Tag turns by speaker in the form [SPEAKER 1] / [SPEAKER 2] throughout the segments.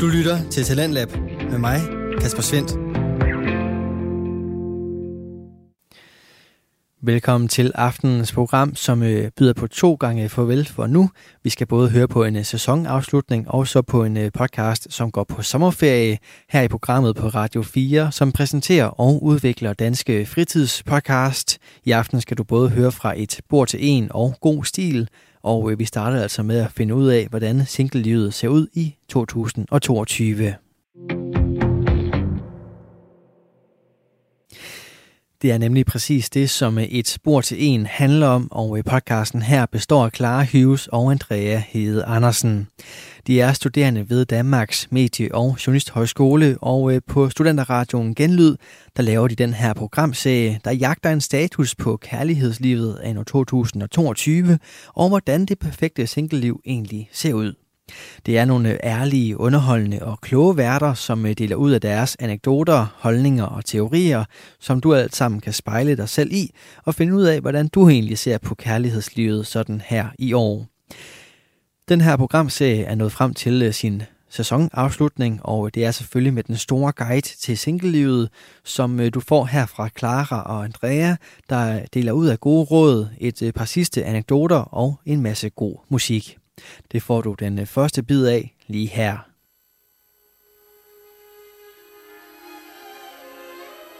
[SPEAKER 1] Du lytter til Talentlab med mig, Kasper Svendt. Velkommen til aftenens program, som øh, byder på to gange farvel for nu. Vi skal både høre på en øh, sæsonafslutning og så på en øh, podcast, som går på sommerferie her i programmet på Radio 4, som præsenterer og udvikler danske fritidspodcast. I aften skal du både høre fra et bord til en og god stil, og øh, vi starter altså med at finde ud af, hvordan singlelivet ser ud i 2022. Det er nemlig præcis det, som øh, et spor til en handler om, og øh, podcasten her består af Clara Hughes og Andrea Hede Andersen. De er studerende ved Danmarks Medie- og Journalisthøjskole, og øh, på Studenterradioen Genlyd, der laver de den her programserie, der jagter en status på kærlighedslivet anno 2022, og hvordan det perfekte singleliv egentlig ser ud. Det er nogle øh, ærlige, underholdende og kloge værter, som øh, deler ud af deres anekdoter, holdninger og teorier, som du alt sammen kan spejle dig selv i og finde ud af, hvordan du egentlig ser på kærlighedslivet sådan her i år. Den her programserie er nået frem til øh, sin sæsonafslutning, og det er selvfølgelig med den store guide til singlelivet, som øh, du får her fra Clara og Andrea, der deler ud af gode råd, et øh, par sidste anekdoter og en masse god musik. Det får du den øh, første bid af lige her.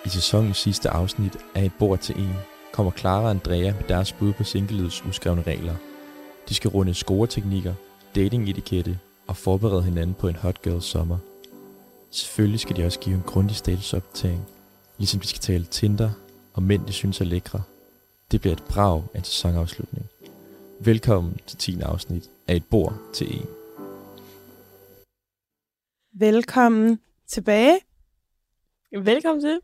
[SPEAKER 2] I sæsonens sidste afsnit af Et bord til en kommer Clara og Andrea med deres bud på singlelivets uskrevne regler. De skal runde scoreteknikker, datingetikette og forberede hinanden på en hot girl sommer. Selvfølgelig skal de også give en grundig statusopdatering, ligesom de skal tale Tinder og mænd, de synes er lækre. Det bliver et brag af en sæsonafslutning. Velkommen til 10. afsnit af Et bord til en.
[SPEAKER 3] Velkommen tilbage.
[SPEAKER 4] Velkommen til.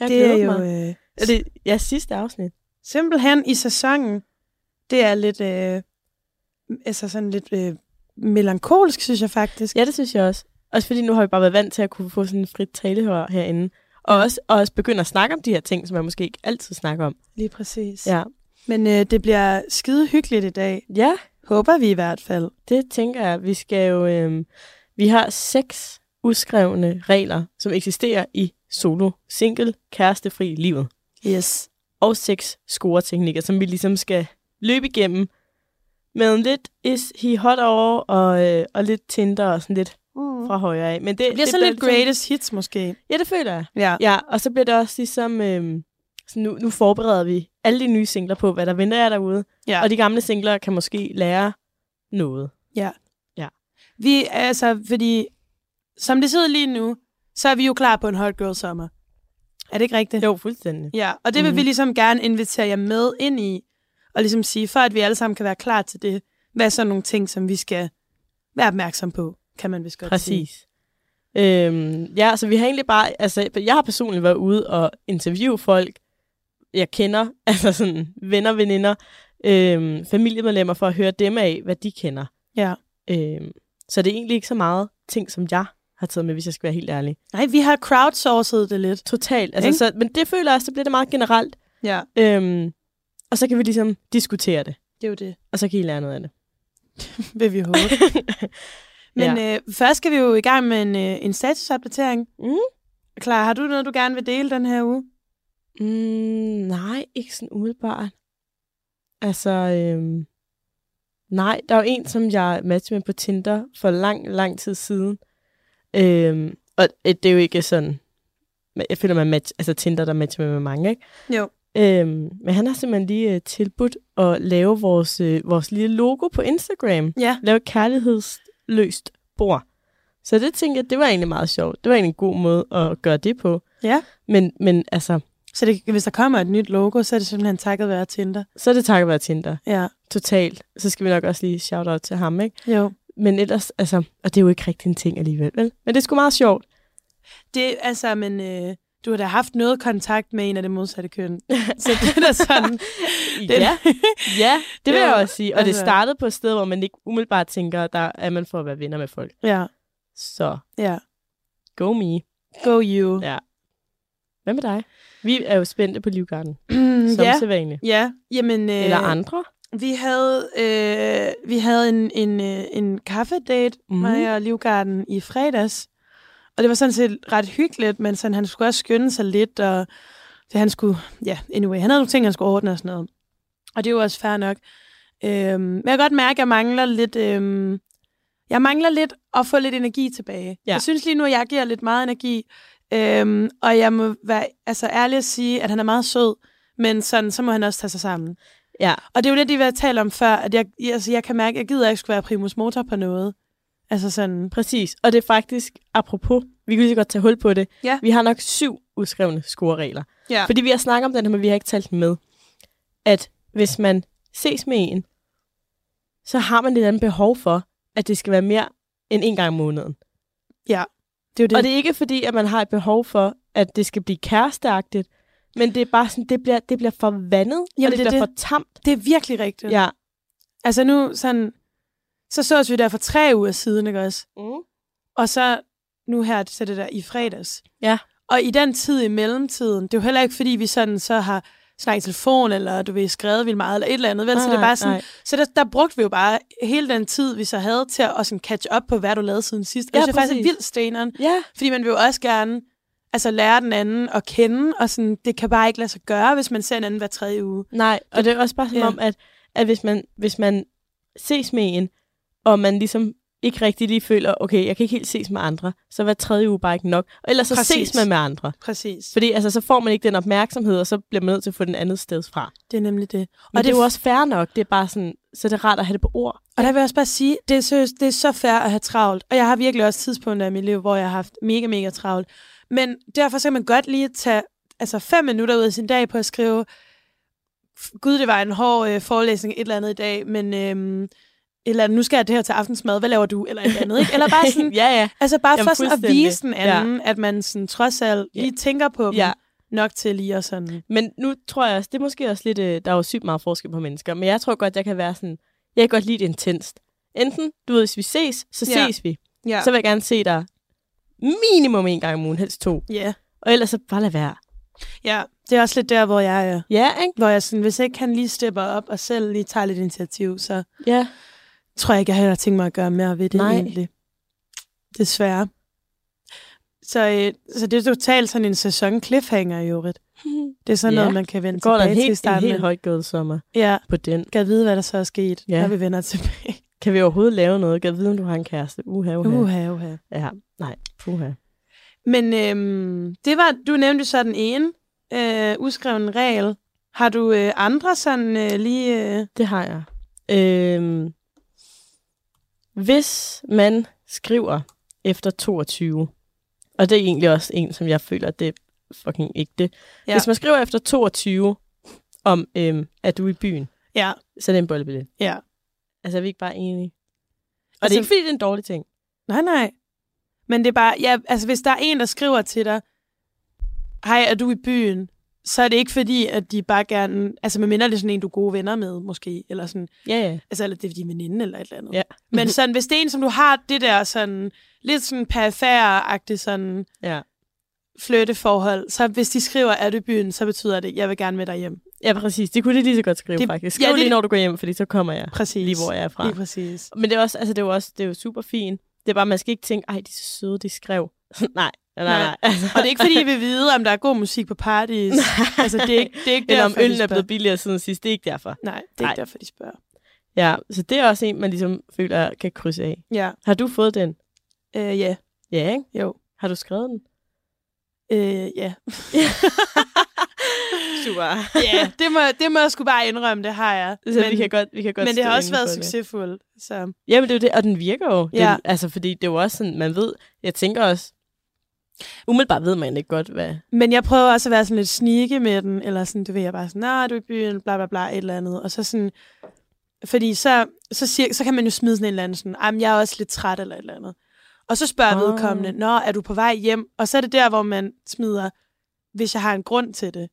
[SPEAKER 4] Jeg
[SPEAKER 3] det er jo
[SPEAKER 4] mig.
[SPEAKER 3] øh,
[SPEAKER 4] Er det ja, sidste afsnit?
[SPEAKER 3] simpelthen i sæsonen. Det er lidt, øh, altså sådan lidt øh, melankolsk, synes jeg faktisk.
[SPEAKER 4] Ja, det synes jeg også. Også fordi nu har vi bare været vant til at kunne få sådan en frit talehør herinde. Og også, og også begynde at snakke om de her ting, som man måske ikke altid snakker om.
[SPEAKER 3] Lige præcis.
[SPEAKER 4] Ja.
[SPEAKER 3] Men øh, det bliver skide hyggeligt i dag.
[SPEAKER 4] ja,
[SPEAKER 3] Håber vi i hvert fald.
[SPEAKER 4] det tænker jeg. Vi skal jo... Øhm, vi har seks uskrevne regler, som eksisterer i solo, single, kærestefri livet.
[SPEAKER 3] Yes.
[SPEAKER 4] Og seks scoreteknikker, som vi ligesom skal løbe igennem. Med en lidt is he hot over, og, øh, og lidt Tinder og sådan lidt
[SPEAKER 3] Mm.
[SPEAKER 4] fra højre af. Men det,
[SPEAKER 3] Det bliver sådan lidt
[SPEAKER 4] ligesom-
[SPEAKER 3] greatest hits måske.
[SPEAKER 4] Ja, det føler jeg.
[SPEAKER 3] Ja.
[SPEAKER 4] Ja, og så bliver det også ligesom... Øhm, så nu, nu forbereder vi alle de nye singler på, hvad der venter jer derude.
[SPEAKER 3] Ja.
[SPEAKER 4] Og de gamle singler kan måske lære noget.
[SPEAKER 3] Vi, altså, fordi som det sidder lige nu, så er vi jo klar på en hot girl sommer. Er det ikke rigtigt?
[SPEAKER 4] Jo, fuldstændig.
[SPEAKER 3] Ja, og det vil
[SPEAKER 4] Mhm.
[SPEAKER 3] vi ligesom gerne invitere jer med ind i, og ligesom sige, for at vi alle sammen kan være klar til det, hvad er så nogle ting, som vi skal være opmærksom på, kan man vist godt sige.
[SPEAKER 4] Præcis. Øhm, ja, så vi har egentlig bare... Altså, jeg har personligt været ude og interviewe folk, jeg kender, altså sådan venner, veninder, øhm, familiemedlemmer, for at høre dem af, hvad de kender.
[SPEAKER 3] Ja.
[SPEAKER 4] Øhm, så det er egentlig ikke så meget ting, som jeg har taget med, hvis jeg skal være helt ærlig.
[SPEAKER 3] Nej, vi har crowdsourcet det lidt.
[SPEAKER 4] Totalt. Altså,
[SPEAKER 3] Ikke?
[SPEAKER 4] så, men det føler jeg også, det bliver det meget generelt.
[SPEAKER 3] Ja,
[SPEAKER 4] Øhm, og så kan vi ligesom diskutere det,
[SPEAKER 3] det er jo det,
[SPEAKER 4] og så kan I lære noget af det.
[SPEAKER 3] vil vi håbe. Men ja. øh, først skal vi jo i gang med en, øh, en statusopdatering.
[SPEAKER 4] Mhm.
[SPEAKER 3] Klar, har du noget, du gerne vil dele den her uge?
[SPEAKER 4] mm, nej, ikke sådan umiddelbart. Altså, øhm, nej, der er jo en, som jeg matchede med på Tinder for lang, lang tid siden. Øhm, og øh, det er jo ikke sådan, men jeg føler, man match, altså Tinder, der matcher man med mange, ikke?
[SPEAKER 3] Jo.
[SPEAKER 4] Øhm, men han har simpelthen lige øh, tilbudt at lave vores, øh, vores lille logo på Instagram.
[SPEAKER 3] Ja,
[SPEAKER 4] lave et kærlighedsløst bord. Så det tænkte jeg, det var egentlig meget sjovt. Det var egentlig en god måde at gøre det på.
[SPEAKER 3] Ja.
[SPEAKER 4] Men, men altså,
[SPEAKER 3] så det, hvis der kommer et nyt logo, så er det simpelthen takket være Tinder.
[SPEAKER 4] så er det takket være Tinder.
[SPEAKER 3] Ja,
[SPEAKER 4] Totalt. Så skal vi nok også lige shout out til ham, ikke?
[SPEAKER 3] jo.
[SPEAKER 4] Men ellers, altså, og det er jo ikke rigtig en ting alligevel, vel? Men det er sgu meget sjovt.
[SPEAKER 3] Det, altså, men øh, du har da haft noget kontakt med en af det modsatte køn. Så det er da sådan. Det,
[SPEAKER 4] ja, ja, det vil
[SPEAKER 3] Det er
[SPEAKER 4] jeg
[SPEAKER 3] jo-
[SPEAKER 4] også sige. Og det
[SPEAKER 3] altså-
[SPEAKER 4] startede på et sted, hvor man ikke umiddelbart tænker, at der er man for at være venner med folk.
[SPEAKER 3] ja,
[SPEAKER 4] Så
[SPEAKER 3] ja.
[SPEAKER 4] go me.
[SPEAKER 3] Go you.
[SPEAKER 4] Ja. Hvad med dig? Vi er jo spændte på Livgarden, som
[SPEAKER 3] Mm, ja.
[SPEAKER 4] sædvanligt.
[SPEAKER 3] ja. Jamen, øh,
[SPEAKER 4] Eller andre.
[SPEAKER 3] Vi havde, øh, vi havde en, en, øh, en kaffedate, mm.
[SPEAKER 4] Mhm.
[SPEAKER 3] mig og Livgarden, i fredags. Og det var sådan set ret hyggeligt, men sådan, han skulle også skynde sig lidt, og det, han skulle, ja, anyway, han havde nogle ting, han skulle ordne og sådan noget. Og det er jo også fair nok. Øhm, men jeg kan godt mærke, at jeg mangler lidt, øhm, jeg mangler lidt at få lidt energi tilbage.
[SPEAKER 4] Ja.
[SPEAKER 3] Jeg synes lige nu, at jeg giver lidt meget energi, øhm, og jeg må være altså, ærlig at sige, at han er meget sød, men sådan, så må han også tage sig sammen.
[SPEAKER 4] Ja,
[SPEAKER 3] Og det er jo lidt det, vi har talt om før, at jeg, jeg- altså, jeg kan mærke, at jeg gider ikke skulle være primus motor på noget. Altså sådan,
[SPEAKER 4] præcis. Og det er faktisk, apropos, vi kan lige så godt tage hul på det.
[SPEAKER 3] Ja.
[SPEAKER 4] Vi har nok syv uskrevne scoreregler.
[SPEAKER 3] ja.
[SPEAKER 4] Fordi vi har snakket om den her, men vi har ikke talt den med. At hvis man ses med en, så har man et eller andet behov for, at det skal være mere end en gang om måneden.
[SPEAKER 3] det er jo det.
[SPEAKER 4] Og det er ikke fordi, at man har et behov for, at det skal blive kæresteagtigt, men det er bare sådan, det bliver, det bliver for vandet,
[SPEAKER 3] Jamen, det er
[SPEAKER 4] og det, det bliver
[SPEAKER 3] det.
[SPEAKER 4] for tamt.
[SPEAKER 3] det er virkelig rigtigt.
[SPEAKER 4] Ja.
[SPEAKER 3] Altså nu sådan, så sås vi der for tre uger siden, ikke også?
[SPEAKER 4] Mm.
[SPEAKER 3] Og så nu her, så det der i fredags.
[SPEAKER 4] Ja.
[SPEAKER 3] Og i den tid i mellemtiden, det er jo heller ikke, fordi vi sådan så har snakket i telefon, eller du ved, skrevet vildt meget, eller et eller andet, vel? så det er bare sådan, Så der, der brugte vi jo bare hele den tid, vi så havde til at, at sådan catch up på, hvad du lavede siden sidst. Og
[SPEAKER 4] Ja,
[SPEAKER 3] det synes jeg faktisk er
[SPEAKER 4] præcis.
[SPEAKER 3] vildt steneren,
[SPEAKER 4] Ja,
[SPEAKER 3] Fordi man vil jo også gerne altså, lære den anden at kende, og sådan, det kan bare ikke lade sig gøre, hvis man ser en anden hver tredje uge.
[SPEAKER 4] nej. Og det er også bare som
[SPEAKER 3] Ja.
[SPEAKER 4] ja. om, at, at hvis, man, hvis man ses med en, og man ligesom ikke rigtig lige føler, okay, jeg kan ikke helt ses med andre, så hver tredje uge bare ikke nok. Og ellers så
[SPEAKER 3] Præcis.
[SPEAKER 4] ses man med andre.
[SPEAKER 3] Præcis.
[SPEAKER 4] Fordi altså, så får man ikke den opmærksomhed, og så bliver man nødt til at få den andet sted fra.
[SPEAKER 3] Det er nemlig det.
[SPEAKER 4] Men og det, det er jo også fair nok. Det er bare sådan, så er det er rart at have det på ord.
[SPEAKER 3] Og der vil jeg også bare sige, det er, seriøst, det er så fair at have travlt. Og jeg har virkelig også tidspunkter i mit liv, hvor jeg har haft mega, mega travlt. Men derfor så kan man godt lige tage altså fem minutter ud af sin dag på at skrive, "F- gud, det var en hård øh, forelæsning et eller andet i dag, men øhm, eller nu skal jeg det her til aftensmad, hvad laver du, eller et eller andet. Ikke? Eller bare sådan,
[SPEAKER 4] ja, ja.
[SPEAKER 3] altså bare
[SPEAKER 4] Jamen,
[SPEAKER 3] for sådan at
[SPEAKER 4] fuldstændig.
[SPEAKER 3] vise den anden, ja. at man sådan, trods alt lige tænker på dem
[SPEAKER 4] Ja.
[SPEAKER 3] nok til lige at sådan.
[SPEAKER 4] Men nu tror jeg også, det er måske også lidt, øh, der er jo sygt meget forskel på mennesker, men jeg tror godt, jeg kan være sådan, jeg kan godt lide det intenst. Enten, du ved, hvis vi ses, så
[SPEAKER 3] Ja.
[SPEAKER 4] ses vi.
[SPEAKER 3] Ja.
[SPEAKER 4] Så vil jeg gerne se dig minimum en gang om ugen, helst to.
[SPEAKER 3] ja.
[SPEAKER 4] Og ellers så bare lad være.
[SPEAKER 3] ja, det er også lidt der, hvor jeg er.
[SPEAKER 4] Ja, ikke?
[SPEAKER 3] Hvor jeg sådan, hvis ikke han lige stepper op og selv lige tager lidt initiativ, så
[SPEAKER 4] Ja.
[SPEAKER 3] tror jeg ikke, jeg har tænkt mig at gøre mere ved det Nej.
[SPEAKER 4] Nej.
[SPEAKER 3] egentlig. Desværre. Så, øh, så det er totalt sådan en sæson cliffhanger i øvrigt. Det er sådan ja.
[SPEAKER 4] Ja.
[SPEAKER 3] noget, man kan vende
[SPEAKER 4] Det går da en
[SPEAKER 3] tilbage til i
[SPEAKER 4] helt, en
[SPEAKER 3] starten.
[SPEAKER 4] helt højt sommer
[SPEAKER 3] Ja,
[SPEAKER 4] på den.
[SPEAKER 3] kan vide, hvad der så er sket, ja.
[SPEAKER 4] Ja.
[SPEAKER 3] når vi vender tilbage.
[SPEAKER 4] Kan vi overhovedet lave noget? Kan vide, om du har en kæreste? Uha, uha.
[SPEAKER 3] Uha, uha.
[SPEAKER 4] Ja, nej, puha.
[SPEAKER 3] Men øhm, det var, du nævnte jo så den ene øh, uskreven regel. Har du øh, andre sådan øh, lige... Øh,
[SPEAKER 4] Det har jeg. Øhm, hvis man skriver efter 22, og det er egentlig også en, som jeg føler, det er fucking ægte.
[SPEAKER 3] Ja.
[SPEAKER 4] Ja. Hvis man skriver efter 22, om øhm, at du er i byen,
[SPEAKER 3] ja,
[SPEAKER 4] så er det en bollebillet.
[SPEAKER 3] ja.
[SPEAKER 4] Altså, er vi ikke bare enige? Og altså, det
[SPEAKER 3] Altså-
[SPEAKER 4] er ikke, fordi det er en dårlig ting.
[SPEAKER 3] Nej, nej. Men det er bare, ja, altså hvis der er en, der skriver til dig, hej, er du i byen? Så er det ikke fordi, at de bare gerne, altså med mindre det er sådan en, du er gode venner med, måske, eller sådan,
[SPEAKER 4] Ja, ja.
[SPEAKER 3] altså eller det er din veninde eller et eller andet.
[SPEAKER 4] Ja.
[SPEAKER 3] Men sådan, hvis det er en, som du har det der sådan, lidt sådan perifære-agtigt sådan
[SPEAKER 4] Ja.
[SPEAKER 3] flytteforhold, så hvis de skriver, er du i byen, så betyder det, jeg vil gerne med dig hjem.
[SPEAKER 4] Ja, præcis. Det kunne det lige så godt skrive,
[SPEAKER 3] Det-
[SPEAKER 4] det, faktisk.
[SPEAKER 3] ja,
[SPEAKER 4] Skriv ja,
[SPEAKER 3] det-
[SPEAKER 4] det, lige, når du går hjem, fordi så kommer jeg
[SPEAKER 3] Præcis.
[SPEAKER 4] lige, hvor jeg er fra.
[SPEAKER 3] Lige præcis.
[SPEAKER 4] Men det er også, altså det er jo også, det er jo super fint. Det er bare, man skal ikke tænke, ej, de er så søde, de skrev. nej, nej, nej. nej. Altså,
[SPEAKER 3] Og det er ikke fordi, vi vil vide, om der er god musik på parties. altså, det er ikke, det er ikke
[SPEAKER 4] Eller om
[SPEAKER 3] derfor, de
[SPEAKER 4] øllen er
[SPEAKER 3] spørger.
[SPEAKER 4] blevet billigere siden sidst, det er ikke derfor.
[SPEAKER 3] Nej, det er
[SPEAKER 4] Nej.
[SPEAKER 3] ikke derfor, de spørger.
[SPEAKER 4] Ja, så det er også en, man ligesom føler, kan krydse af.
[SPEAKER 3] Ja,
[SPEAKER 4] Har du fået den?
[SPEAKER 3] øh, ja,
[SPEAKER 4] Ja, ikke?
[SPEAKER 3] jo.
[SPEAKER 4] Har du skrevet den?
[SPEAKER 3] Øh, ja.
[SPEAKER 4] Super.
[SPEAKER 3] ja, det må, det må jeg sgu bare indrømme, det har jeg.
[SPEAKER 4] Så men, vi kan godt, vi kan godt
[SPEAKER 3] men det
[SPEAKER 4] stå
[SPEAKER 3] har også
[SPEAKER 4] inde
[SPEAKER 3] været
[SPEAKER 4] for det.
[SPEAKER 3] succesfuldt. Så.
[SPEAKER 4] Jamen, det er jo det, og den virker jo.
[SPEAKER 3] Ja.
[SPEAKER 4] Den, altså, fordi det er jo også sådan, man ved, jeg tænker også, umiddelbart ved man ikke godt, hvad...
[SPEAKER 3] Men jeg prøver også at være sådan lidt snike med den, eller sådan, du ved, jeg er bare sådan, nej, du er i byen, bla bla bla, et eller andet. Og så sådan, fordi så, så, siger, så kan man jo smide sådan en eller anden sådan, "Ej, men jeg er også lidt træt, eller et eller andet. Og så spørger
[SPEAKER 4] Ah.
[SPEAKER 3] oh. vedkommende, nå, er du på vej hjem? Og så er det der, hvor man smider, hvis jeg har en grund til det.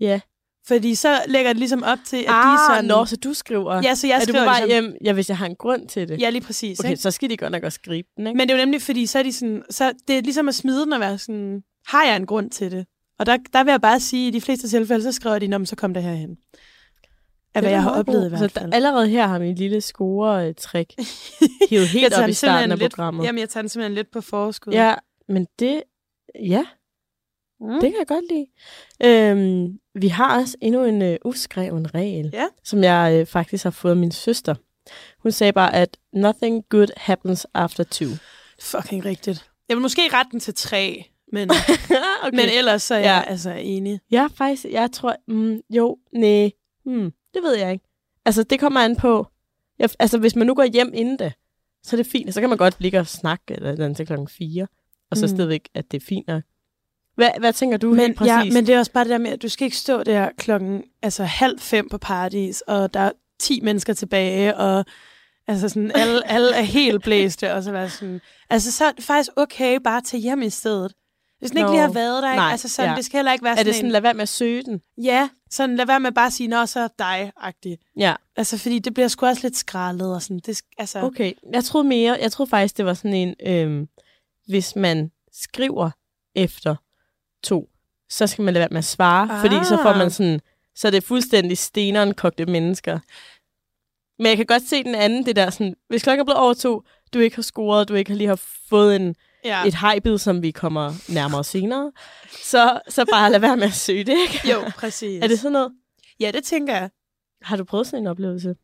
[SPEAKER 4] Ja.
[SPEAKER 3] Fordi så lægger det ligesom op til, at de er
[SPEAKER 4] Ah,
[SPEAKER 3] sådan...
[SPEAKER 4] Nå, så du skriver.
[SPEAKER 3] ja, så jeg
[SPEAKER 4] er du
[SPEAKER 3] skriver
[SPEAKER 4] på vej
[SPEAKER 3] ligesom,
[SPEAKER 4] hjem? Ja, hvis jeg har en grund til det.
[SPEAKER 3] Ja, lige præcis.
[SPEAKER 4] Okay,
[SPEAKER 3] ikke?
[SPEAKER 4] så skal de godt nok også gribe den, ikke?
[SPEAKER 3] Men det er jo nemlig, fordi så er de sådan, så det er ligesom at smide den og være sådan, har jeg en grund til det? Og der, der vil jeg bare sige, at i de fleste tilfælde, så skriver de, "Nå, men så kom det herhen. af hvad jeg har oplevet i hvert
[SPEAKER 4] Så
[SPEAKER 3] fald.
[SPEAKER 4] der, allerede her har min lille score-trick hivet
[SPEAKER 3] Jeg
[SPEAKER 4] helt
[SPEAKER 3] tager
[SPEAKER 4] op i
[SPEAKER 3] den simpelthen
[SPEAKER 4] starten af
[SPEAKER 3] lidt-
[SPEAKER 4] programmet.
[SPEAKER 3] Jamen, jeg tager den simpelthen lidt på forskud.
[SPEAKER 4] Ja, men det... Ja,
[SPEAKER 3] Mm.
[SPEAKER 4] det kan jeg godt lide. Øhm, vi har også endnu en øh, uskreven regel,
[SPEAKER 3] Ja.
[SPEAKER 4] som jeg øh, faktisk har fået af min søster. Hun sagde bare, at nothing good happens after two.
[SPEAKER 3] Fucking rigtigt. Jeg vil måske rette den til tre, men,
[SPEAKER 4] okay.
[SPEAKER 3] men ellers så er jeg
[SPEAKER 4] Ja.
[SPEAKER 3] altså enig.
[SPEAKER 4] øh, Jeg er faktisk, jeg tror, mm, jo, nej, hmm, det ved jeg ikke. Altså, det kommer an på, jeg, altså hvis man nu går hjem inden det, så er det fint, så kan man godt ligge og snakke eller et eller andet til klokken 4, og så
[SPEAKER 3] Mm.
[SPEAKER 4] mm. stadigvæk, at det er fint nok. Hvad, hvad tænker du
[SPEAKER 3] Men,
[SPEAKER 4] helt præcis?
[SPEAKER 3] ja, men det er også bare det der med, at du skal ikke stå der klokken altså halv fem på parties, og der er ti mennesker tilbage, og altså sådan, alle, alle er helt blæste, og så være sådan... Altså, så er det faktisk okay bare at tage hjem i stedet. Hvis den ikke
[SPEAKER 4] Nå.
[SPEAKER 3] lige har været der, ikke?
[SPEAKER 4] Nej,
[SPEAKER 3] altså sådan,
[SPEAKER 4] ja.
[SPEAKER 3] det skal heller ikke være
[SPEAKER 4] er
[SPEAKER 3] sådan,
[SPEAKER 4] det sådan,
[SPEAKER 3] en,
[SPEAKER 4] lad være med at søge den?
[SPEAKER 3] ja, sådan lad være med bare at sige, nå, så er dig-agtig.
[SPEAKER 4] Ja,
[SPEAKER 3] Altså, fordi det bliver sgu også lidt skrællet og sådan. Det, sk- altså,
[SPEAKER 4] okay. Jeg troede mere, jeg troede faktisk, det var sådan en, øhm, hvis man skriver efter to, så skal man lade være med at svare, ah. fordi så får
[SPEAKER 3] Ah.
[SPEAKER 4] man sådan, så er det fuldstændig steneren kogte mennesker. Men jeg kan godt se den anden, det der sådan, hvis klokken er blevet over to, du ikke har scoret, du ikke har lige har fået en,
[SPEAKER 3] ja.
[SPEAKER 4] ja. et hejbid, som vi kommer nærmere senere, så, så bare lad være med at søge det, ikke?
[SPEAKER 3] Jo, præcis.
[SPEAKER 4] Er det sådan noget?
[SPEAKER 3] Ja, det tænker jeg.
[SPEAKER 4] Har du prøvet sådan en oplevelse?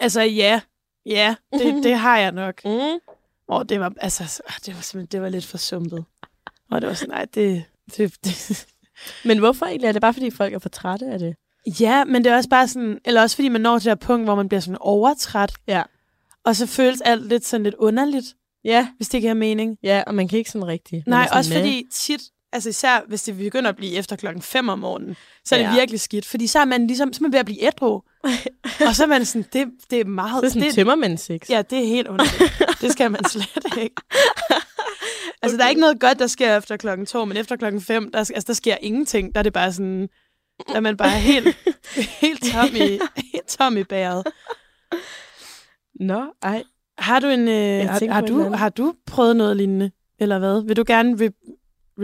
[SPEAKER 3] Altså, ja. Ja, det, det har jeg nok.
[SPEAKER 4] Mm.
[SPEAKER 3] Og det var, altså, s- ah, det var simpelthen det var lidt for sumpet. Og det var sådan, nej, det, det, det...
[SPEAKER 4] Men hvorfor egentlig? Er det bare, fordi folk er for trætte af det?
[SPEAKER 3] Ja, men det er også bare sådan, eller også fordi man når til det her punkt, hvor man bliver sådan overtræt.
[SPEAKER 4] Ja.
[SPEAKER 3] Og så føles alt lidt sådan lidt underligt,
[SPEAKER 4] Ja,
[SPEAKER 3] hvis det giver mening.
[SPEAKER 4] Ja, og man kan ikke sådan rigtig.
[SPEAKER 3] Nej, også fordi tit, altså især hvis det begynder at blive efter klokken 5 om morgenen, så er det
[SPEAKER 4] Ja.
[SPEAKER 3] virkelig skidt, fordi så er man ligesom, så er man ved at blive ædru. og så er man sådan, det, det er meget...
[SPEAKER 4] Det er sådan det...
[SPEAKER 3] det,
[SPEAKER 4] tømmermænd sex.
[SPEAKER 3] ja, det er helt underligt. det skal man slet ikke. Altså, okay. der er ikke noget godt, der sker efter klokken to, men efter klokken fem, der, altså, der sker ingenting. Der er det bare sådan, der er man bare helt, helt, tom i, helt tom i bæret.
[SPEAKER 4] Nå, ej.
[SPEAKER 3] Har du, en, øh, har,
[SPEAKER 4] tænker
[SPEAKER 3] har,
[SPEAKER 4] på et eller
[SPEAKER 3] du,
[SPEAKER 4] andet.
[SPEAKER 3] har du prøvet noget lignende, eller hvad? Vil du gerne re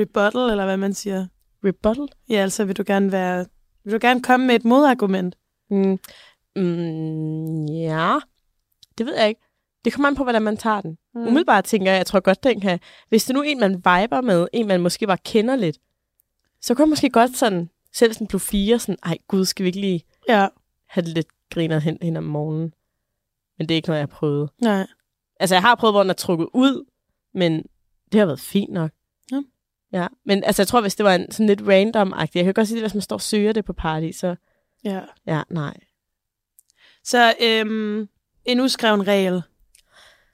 [SPEAKER 3] rebuttal, eller hvad man siger?
[SPEAKER 4] Rebuttal?
[SPEAKER 3] Ja, altså, vil du gerne være... Vil du gerne komme med et modargument?
[SPEAKER 4] Mm. Mm, ja, det ved jeg ikke. Det kommer an på, hvordan man tager den. Mm. Umiddelbart tænker jeg, jeg tror godt, den kan... Hvis det nu er en, man viber med, en, man måske bare kender lidt, så kunne jeg måske godt sådan, selv sådan blive fire, sådan, ej gud, skal vi ikke lige
[SPEAKER 3] Ja,
[SPEAKER 4] have det lidt grinet hen, hen om morgenen? Men det er ikke noget, jeg har prøvet.
[SPEAKER 3] nej.
[SPEAKER 4] Altså, jeg har prøvet, hvor den er trukket ud, men det har været fint nok.
[SPEAKER 3] Ja.
[SPEAKER 4] Ja, men altså, jeg tror, hvis det var en sådan lidt random-agtig, jeg kan godt sige det, hvis man står og søger det på party, så
[SPEAKER 3] Ja.
[SPEAKER 4] ja, nej.
[SPEAKER 3] Så øhm, en uskreven regel.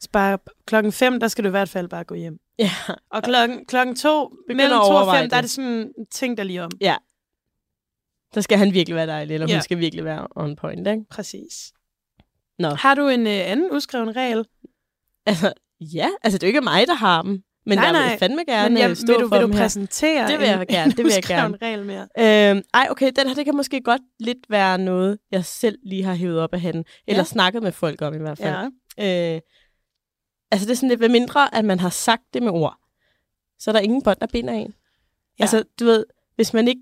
[SPEAKER 3] Så bare klokken 5, der skal du i hvert fald bare gå hjem.
[SPEAKER 4] Ja,
[SPEAKER 3] Og klokken, klokken to,
[SPEAKER 4] Begynd
[SPEAKER 3] mellem
[SPEAKER 4] at
[SPEAKER 3] to og
[SPEAKER 4] overveje
[SPEAKER 3] fem, der er
[SPEAKER 4] det.
[SPEAKER 3] det sådan, tænk dig lige om.
[SPEAKER 4] så skal han virkelig være dejlig, eller
[SPEAKER 3] Ja.
[SPEAKER 4] hun skal virkelig være on point, ikke?
[SPEAKER 3] Præcis.
[SPEAKER 4] Nå.
[SPEAKER 3] Har du en øh, anden uskreven regel?
[SPEAKER 4] Altså, ja, altså, det er jo ikke mig, der har dem, men
[SPEAKER 3] Nej,
[SPEAKER 4] jeg
[SPEAKER 3] nej.
[SPEAKER 4] vil fandme gerne
[SPEAKER 3] Men
[SPEAKER 4] jeg,
[SPEAKER 3] jeg,
[SPEAKER 4] stå
[SPEAKER 3] vil du,
[SPEAKER 4] for
[SPEAKER 3] vil du
[SPEAKER 4] dem øh, her.
[SPEAKER 3] præsentere
[SPEAKER 4] Det vil jeg
[SPEAKER 3] en,
[SPEAKER 4] gerne, det vil jeg
[SPEAKER 3] uskreven
[SPEAKER 4] gerne.
[SPEAKER 3] regel mere?
[SPEAKER 4] Øhm, ej, okay, den her, det kan måske godt lidt være noget, jeg selv lige har hævet op af handen, eller
[SPEAKER 3] Ja.
[SPEAKER 4] snakket med folk om i hvert fald.
[SPEAKER 3] Ja.
[SPEAKER 4] Øh, altså det er sådan lidt, hvad mindre, at man har sagt det med ord, så er der ingen bånd, der binder en.
[SPEAKER 3] Ja.
[SPEAKER 4] Ja. Altså, du ved, hvis man ikke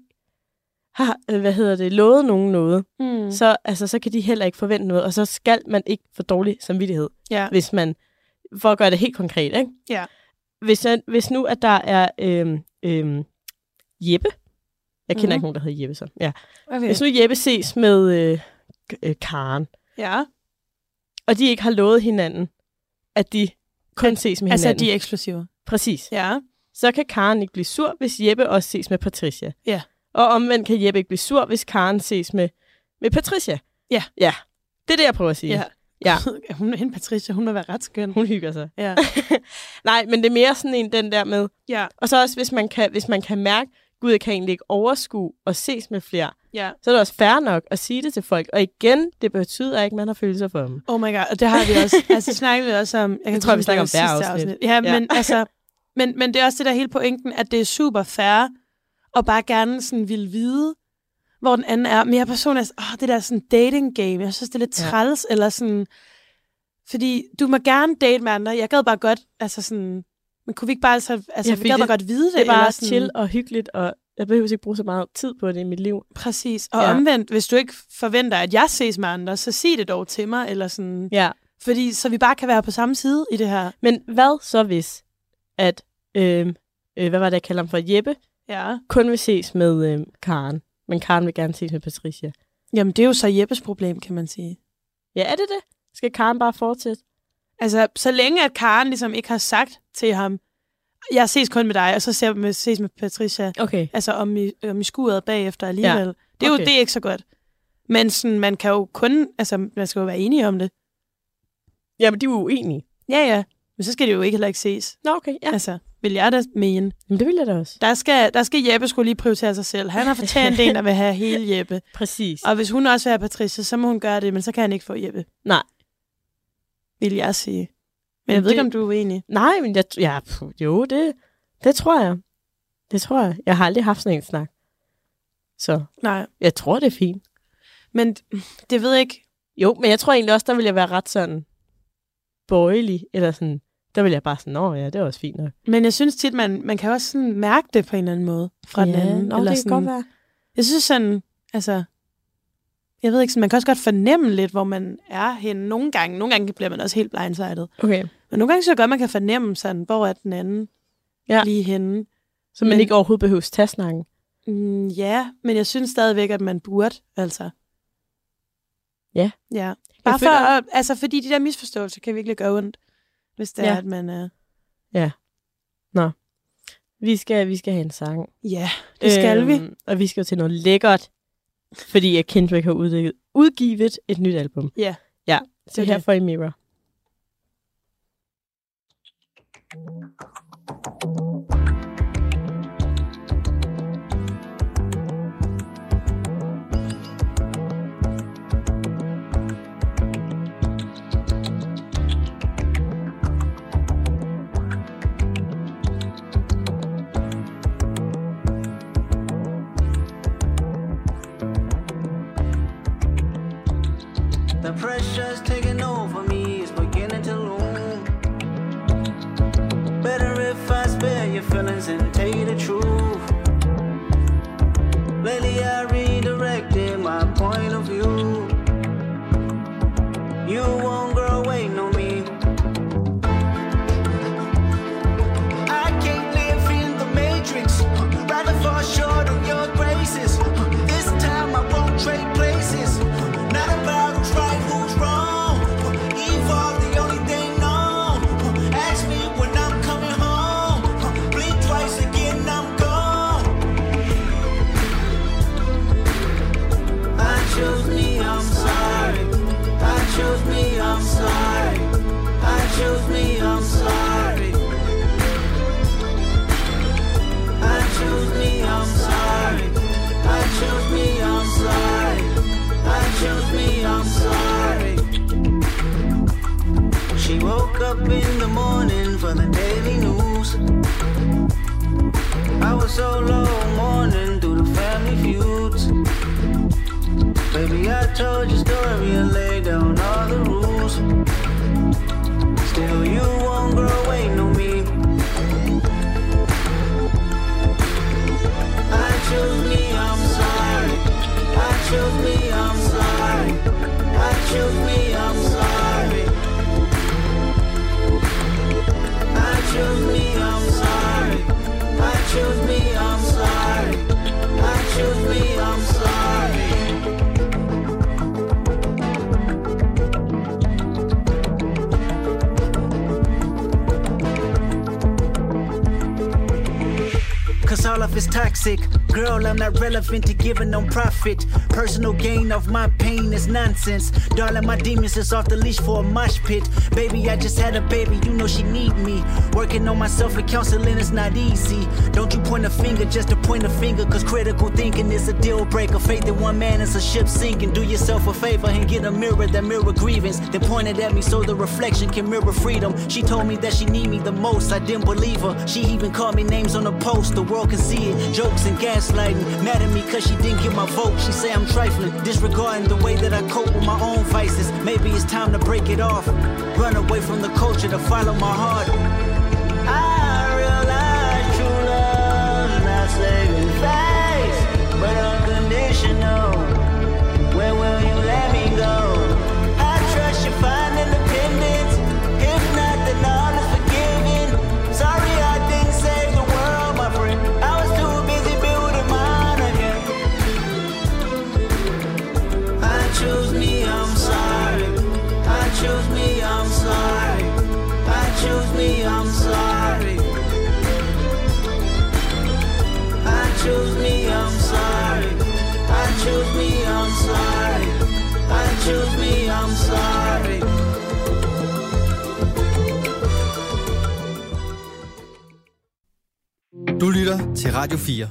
[SPEAKER 4] har, øh, hvad hedder det, lovet nogen noget,
[SPEAKER 3] Mm.
[SPEAKER 4] mm. så, altså, så kan de heller ikke forvente noget, og så skal man ikke få dårlig samvittighed,
[SPEAKER 3] ja.
[SPEAKER 4] hvis man, for at gøre det helt konkret, ikke?
[SPEAKER 3] Ja.
[SPEAKER 4] Hvis, jeg, hvis nu, at der er øhm, øhm, Jeppe, jeg kender
[SPEAKER 3] Mhm.
[SPEAKER 4] mm. ikke nogen, der hedder Jeppe så, ja.
[SPEAKER 3] Okay.
[SPEAKER 4] Hvis nu Jeppe ses med øh, K- øh, Karen,
[SPEAKER 3] ja.
[SPEAKER 4] og de ikke har lovet hinanden, at de kun ses med hinanden.
[SPEAKER 3] Altså, de er eksklusive.
[SPEAKER 4] Præcis.
[SPEAKER 3] Ja.
[SPEAKER 4] Så kan Karen ikke blive sur, hvis Jeppe også ses med Patricia.
[SPEAKER 3] Ja.
[SPEAKER 4] Og omvendt kan Jeppe ikke blive sur, hvis Karen ses med, med Patricia.
[SPEAKER 3] Ja.
[SPEAKER 4] Ja. Det er det, jeg prøver at sige.
[SPEAKER 3] Ja.
[SPEAKER 4] Ja.
[SPEAKER 3] hun, hende Patricia, hun må være ret skøn.
[SPEAKER 4] Hun hygger sig.
[SPEAKER 3] Ja.
[SPEAKER 4] Nej, men det er mere sådan en, den der med.
[SPEAKER 3] ja.
[SPEAKER 4] Og så også, hvis man kan, hvis man kan mærke, gud, jeg kan egentlig ikke overskue og ses med flere,
[SPEAKER 3] Ja.
[SPEAKER 4] så er det også fair nok at sige det til folk. Og igen, det betyder ikke, at man har følelser for dem.
[SPEAKER 3] Oh my god, og det har vi også. Altså, snakker vi også om... Jeg kan
[SPEAKER 4] tror jeg, vi
[SPEAKER 3] huske,
[SPEAKER 4] snakker om
[SPEAKER 3] det var
[SPEAKER 4] hver
[SPEAKER 3] sidste
[SPEAKER 4] afsnit.
[SPEAKER 3] Ja, ja,
[SPEAKER 4] Ja.
[SPEAKER 3] men altså... Men, men det er også det der hele pointen, at det er super fair, og bare gerne sådan vil vide, hvor den anden er. Men jeg personligt, er åh, det der sådan dating game, jeg synes, det er lidt
[SPEAKER 4] Ja.
[SPEAKER 3] træls, eller sådan... Fordi du må gerne date med andre. Jeg gad bare godt, altså sådan... Men kunne vi ikke bare, altså, altså
[SPEAKER 4] Ja,
[SPEAKER 3] vi
[SPEAKER 4] fordi
[SPEAKER 3] gad bare
[SPEAKER 4] det-
[SPEAKER 3] godt vide det?
[SPEAKER 4] Det er bare
[SPEAKER 3] eller sådan,
[SPEAKER 4] chill og hyggeligt og Jeg behøver ikke bruge så meget tid på det i mit liv.
[SPEAKER 3] Præcis. Og ja.
[SPEAKER 4] Ja.
[SPEAKER 3] omvendt, hvis du ikke forventer, at jeg ses med andre, så sig det dog til mig, eller sådan.
[SPEAKER 4] Ja.
[SPEAKER 3] Fordi så vi bare kan være på samme side i det her.
[SPEAKER 4] Men hvad så hvis, at, øhm, øh, hvad var det, jeg kalder ham for, Jeppe,
[SPEAKER 3] Ja.
[SPEAKER 4] kun vil ses med øhm, Karen. Men Karen vil gerne ses med Patricia.
[SPEAKER 3] Jamen, det er jo så Jeppes problem, kan man sige.
[SPEAKER 4] Ja, er det det? Skal Karen bare fortsætte?
[SPEAKER 3] Altså, så længe at Karen ligesom ikke har sagt til ham, jeg ses kun med dig, og så ser- med- ses med Patricia,
[SPEAKER 4] Okay.
[SPEAKER 3] altså om i, om i skuret bagefter alligevel. Ja. Det er jo
[SPEAKER 4] okay.
[SPEAKER 3] det er ikke så godt. Men sådan, man kan jo kun, altså man skal jo være enige om det.
[SPEAKER 4] Jamen, de er jo uenige.
[SPEAKER 3] Ja, ja. Men så skal det jo ikke heller ikke ses.
[SPEAKER 4] Nå, okay, ja.
[SPEAKER 3] Altså, vil jeg da mene.
[SPEAKER 4] Jamen, det vil jeg da også.
[SPEAKER 3] Der skal, der skal Jeppe skulle lige prioritere sig selv. Han har fortjent en, der vil have hele Jeppe.
[SPEAKER 4] Præcis.
[SPEAKER 3] Og hvis hun også vil have Patricia, så må hun gøre det, men så kan han ikke få Jeppe.
[SPEAKER 4] Nej.
[SPEAKER 3] Vil jeg sige. Men
[SPEAKER 4] Men
[SPEAKER 3] jeg ved ikke,
[SPEAKER 4] det-
[SPEAKER 3] om du er uenig.
[SPEAKER 4] Nej, men jeg, ja, pff, jo, det, det tror jeg. Det tror jeg. Jeg har aldrig haft sådan en snak. Så
[SPEAKER 3] Nej.
[SPEAKER 4] jeg tror, det er fint.
[SPEAKER 3] Men det ved jeg ikke.
[SPEAKER 4] Jo, men jeg tror egentlig også, der ville jeg være ret sådan bøjelig, eller sådan, der ville jeg bare sådan, nå ja, det er også fint nok.
[SPEAKER 3] Men jeg synes tit, man, man kan også sådan mærke det på en eller anden måde fra den anden.
[SPEAKER 4] nå,
[SPEAKER 3] eller
[SPEAKER 4] det
[SPEAKER 3] sådan,
[SPEAKER 4] kan godt være.
[SPEAKER 3] Jeg synes sådan, altså, jeg ved ikke, sådan, man kan også godt fornemme lidt, hvor man er henne nogle gange. Nogle gange bliver man også helt blindsided.
[SPEAKER 4] Okay.
[SPEAKER 3] Men nogle gange så godt, man kan fornemme sådan, hvor er den anden ja.
[SPEAKER 4] Ja.
[SPEAKER 3] lige henne.
[SPEAKER 4] Så man
[SPEAKER 3] Men-
[SPEAKER 4] men... ikke overhovedet behøver tage snakken.
[SPEAKER 3] Mm, ja, men jeg synes stadigvæk, at man burde, altså.
[SPEAKER 4] Ja.
[SPEAKER 3] Ja. Bare for,
[SPEAKER 4] føler-
[SPEAKER 3] at, altså, fordi de der misforståelser kan virkelig gøre ondt, hvis det ja.
[SPEAKER 4] Ja.
[SPEAKER 3] er, at man er...
[SPEAKER 4] Vi skal, vi skal have en sang.
[SPEAKER 3] Ja, det skal øhm. vi.
[SPEAKER 4] Og vi skal jo til noget lækkert, fordi at Kendrick har udgivet, udgivet et nyt album.
[SPEAKER 3] Ja.
[SPEAKER 4] Ja, så
[SPEAKER 3] er
[SPEAKER 4] her
[SPEAKER 3] det.
[SPEAKER 4] får I Mirror.
[SPEAKER 5] The pressure's taking over me, it's beginning to loom. Better if I spare your feelings and tell you the truth. Lately I redirected my point of view. You won't grow waiting on me. I can't live in the matrix. Rather fall short of your graces. This time I won't trade places. Not about who's right, who's wrong. Evolve the only thing known. Ask me when I'm coming home. Blink twice again, I'm gone. I chose me, I'm sorry. I chose me, I'm sorry. I chose me, I'm sorry. I choose me, I'm sorry. I choose me, I'm sorry. I choose me, I'm sorry. She woke up in the morning for the daily news. I was so low mourning through the family feuds. Baby, I told your story and laid down all the rules. Still, you won't grow away, no me. I choose me, I'm sorry. I choose me, I'm sorry. I choose me, I'm sorry. I choose me, I'm sorry. I choose me, I'm sorry. I choose me, I'm sorry. Cause all of it's toxic. Girl, I'm not relevant to giving no profit. Personal gain of my pain is nonsense. Darling, my demons is off the leash for a mosh pit. Baby, I just had a baby, you know she need me. Working on myself and counseling is not easy. Don't you point a finger just to point a finger. Cause critical thinking is a deal breaker. Faith in one man is a ship sinking. Do yourself a favor and get a mirror that mirror grievance. Then point it at me so the reflection can mirror freedom. She told me that she need me the most. I didn't believe her. She even called me names on the post. The world can see it. Jokes and gaslighting. Mad at me cause she didn't get my vote. She say I'm trifling. Disregarding the way that I cope with my own vices. Maybe it's time to break it off. Run away from the culture to follow my heart. I realize true love's not saving face. choose me, I'm sorry. I choose me, I'm sorry.
[SPEAKER 1] Du lytter til Radio 4.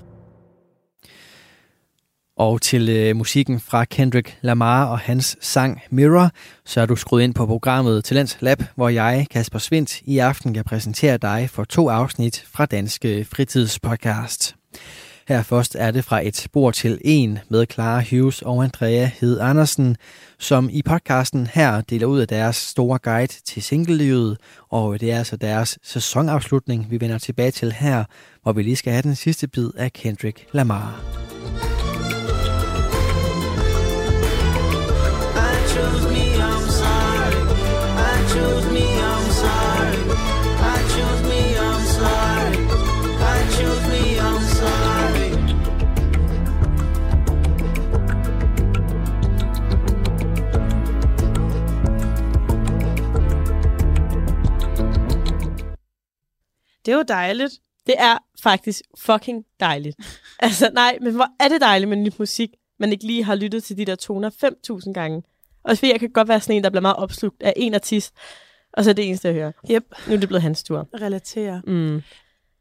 [SPEAKER 1] Og til øh, musikken fra Kendrick Lamar og hans sang Mirror, så er du skruet ind på programmet Talents Lab, hvor jeg, Kasper Svindt, i aften kan præsentere dig for to afsnit fra Danske Fritidspodcast. Her først er det fra et spor til en med Clara Hughes og Andrea Hed Andersen, som i podcasten her deler ud af deres store guide til singlelivet, og det er altså deres sæsonafslutning, vi vender tilbage til her, hvor vi lige skal have den sidste bid af Kendrick Lamar.
[SPEAKER 5] I choose me, I'm sorry. I choose me, I'm sorry. I choose me, I'm sorry. I choose me, I'm sorry.
[SPEAKER 3] Det er jo dejligt.
[SPEAKER 4] Det er faktisk fucking dejligt. altså nej, men hvor er det dejligt med ny musik, man ikke lige har lyttet til de der toner 5.000 gange. Også fordi jeg kan godt være sådan en, der bliver meget opslugt af en artist, og så er det eneste, jeg hører.
[SPEAKER 3] Yep.
[SPEAKER 4] Nu er det blevet hans tur.
[SPEAKER 3] Relaterer.
[SPEAKER 4] Mm.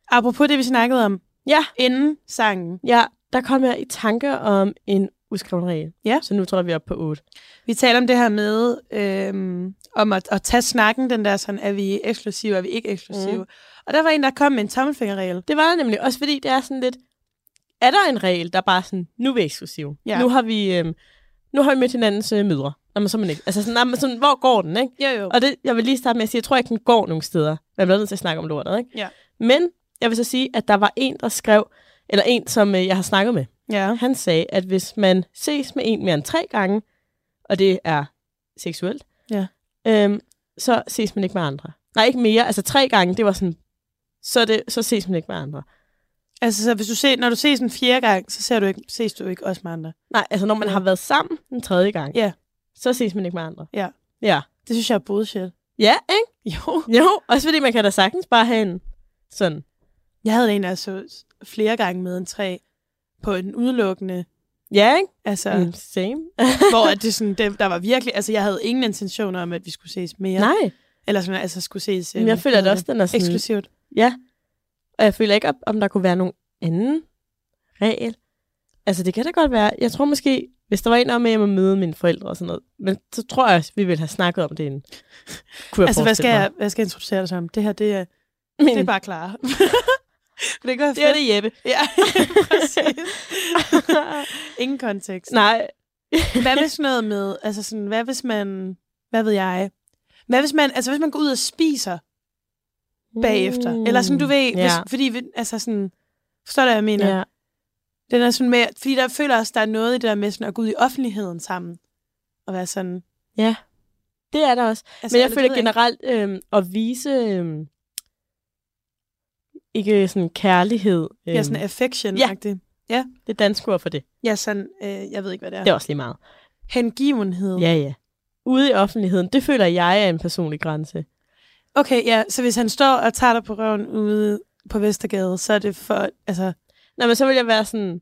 [SPEAKER 3] Apropos det, vi snakkede om
[SPEAKER 4] Ja,
[SPEAKER 3] inden sangen.
[SPEAKER 4] ja, der kom jeg i tanke om en uskreven regel.
[SPEAKER 3] Ja.
[SPEAKER 4] Så nu tror jeg, vi er oppe på 8.
[SPEAKER 3] Vi taler om det her med, øhm, om at, at tage snakken, den der sådan, er vi eksklusive, er vi ikke eksklusive. Mm. Og der var en, der kom med en tommelfingerregel.
[SPEAKER 4] Det var der nemlig også, fordi det er sådan lidt, er der en regel, der er bare sådan, nu er vi eksklusiv.
[SPEAKER 3] Ja.
[SPEAKER 4] Nu har vi, øhm, nu har vi mødt hinandens øh, mødre. Nå, men så er man ikke. Altså sådan, nej, men sådan, hvor går den, ikke?
[SPEAKER 3] Jo, jo.
[SPEAKER 4] Og det, jeg vil lige starte med at sige, jeg tror ikke, den går nogen steder. Man bliver nødt til at snakke om lortet, ikke?
[SPEAKER 3] Ja.
[SPEAKER 4] Men jeg vil så sige, at der var en, der skrev, eller en, som øh, jeg har snakket med.
[SPEAKER 3] Ja.
[SPEAKER 4] Han sagde, at hvis man ses med en mere end tre gange, og det er seksuelt,
[SPEAKER 3] Ja.
[SPEAKER 4] øhm, så ses man ikke med andre. Nej, ikke mere. Altså tre gange, det var sådan, så, er det, så ses man ikke med andre.
[SPEAKER 3] Altså, så hvis du ser, når du ses en fjerde gang, så ser du ikke, ses du ikke også med andre.
[SPEAKER 4] Nej, altså når man
[SPEAKER 3] Ja.
[SPEAKER 4] har været sammen den tredje gang,
[SPEAKER 3] Ja.
[SPEAKER 4] så ses man ikke med andre.
[SPEAKER 3] Ja.
[SPEAKER 4] Ja.
[SPEAKER 3] Det synes jeg er bullshit.
[SPEAKER 4] Ja, ikke?
[SPEAKER 3] Jo.
[SPEAKER 4] Jo, også fordi man kan da sagtens bare have en sådan.
[SPEAKER 3] Jeg havde en, der så flere gange med en træ på en udelukkende,
[SPEAKER 4] Ja, ikke?
[SPEAKER 3] altså,
[SPEAKER 4] Ja.
[SPEAKER 3] mm.
[SPEAKER 4] Mm, same.
[SPEAKER 3] hvor at det sådan, det, der var virkelig, altså jeg havde ingen intentioner om, at vi skulle ses mere.
[SPEAKER 4] Nej,
[SPEAKER 3] Eller sådan, altså skulle ses
[SPEAKER 4] men jeg
[SPEAKER 3] øh,
[SPEAKER 4] føler
[SPEAKER 3] hvad
[SPEAKER 4] det
[SPEAKER 3] hedder
[SPEAKER 4] også, den er sådan...
[SPEAKER 3] eksklusivt.
[SPEAKER 4] Ja. Og jeg føler ikke, op- om der kunne være nogen anden regel. Altså, det kan da godt være. Jeg tror måske, hvis der var en om, at jeg må møde mine forældre og sådan noget, men så tror jeg også, vi ville have snakket om det inden. Kunne jeg
[SPEAKER 3] Altså, hvad skal,
[SPEAKER 4] forestille
[SPEAKER 3] jeg, hvad skal jeg introducere dig som? Det her, det er,
[SPEAKER 4] mig. Men,
[SPEAKER 3] det er bare klar. det går
[SPEAKER 4] det er det, Jeppe.
[SPEAKER 3] Ja, præcis. Ingen kontekst.
[SPEAKER 4] Nej.
[SPEAKER 3] Hvad hvis sådan noget med, altså sådan, hvad hvis man, hvad ved jeg, hvad hvis man, altså hvis man går ud og spiser bagefter, mm. eller sådan, du ved,
[SPEAKER 4] ja.
[SPEAKER 3] hvis, fordi, vi- altså sådan, forstår du, hvad jeg mener?
[SPEAKER 4] ja.
[SPEAKER 3] Den er sådan med, fordi der føler også, der er noget i det der med sådan at gå ud i offentligheden sammen, og være sådan,
[SPEAKER 4] Det er der også.
[SPEAKER 3] altså,
[SPEAKER 4] Men jeg
[SPEAKER 3] eller
[SPEAKER 4] føler
[SPEAKER 3] det ved
[SPEAKER 4] generelt øhm, at vise øhm, ikke sådan kærlighed. Øhm,
[SPEAKER 3] ikke. Ja, sådan affection -agtig.
[SPEAKER 4] det danske ord for det.
[SPEAKER 3] Ja, sådan, øh, jeg ved ikke, hvad det er.
[SPEAKER 4] Det er også lige meget.
[SPEAKER 3] Hengivenhed.
[SPEAKER 4] Ja, ja. Ude i offentligheden, det føler jeg er en personlig grænse.
[SPEAKER 3] Okay, ja, så hvis han står og tager dig på røven ude på Vestergade, så er det for, altså,
[SPEAKER 4] Nå, men så vil jeg være sådan...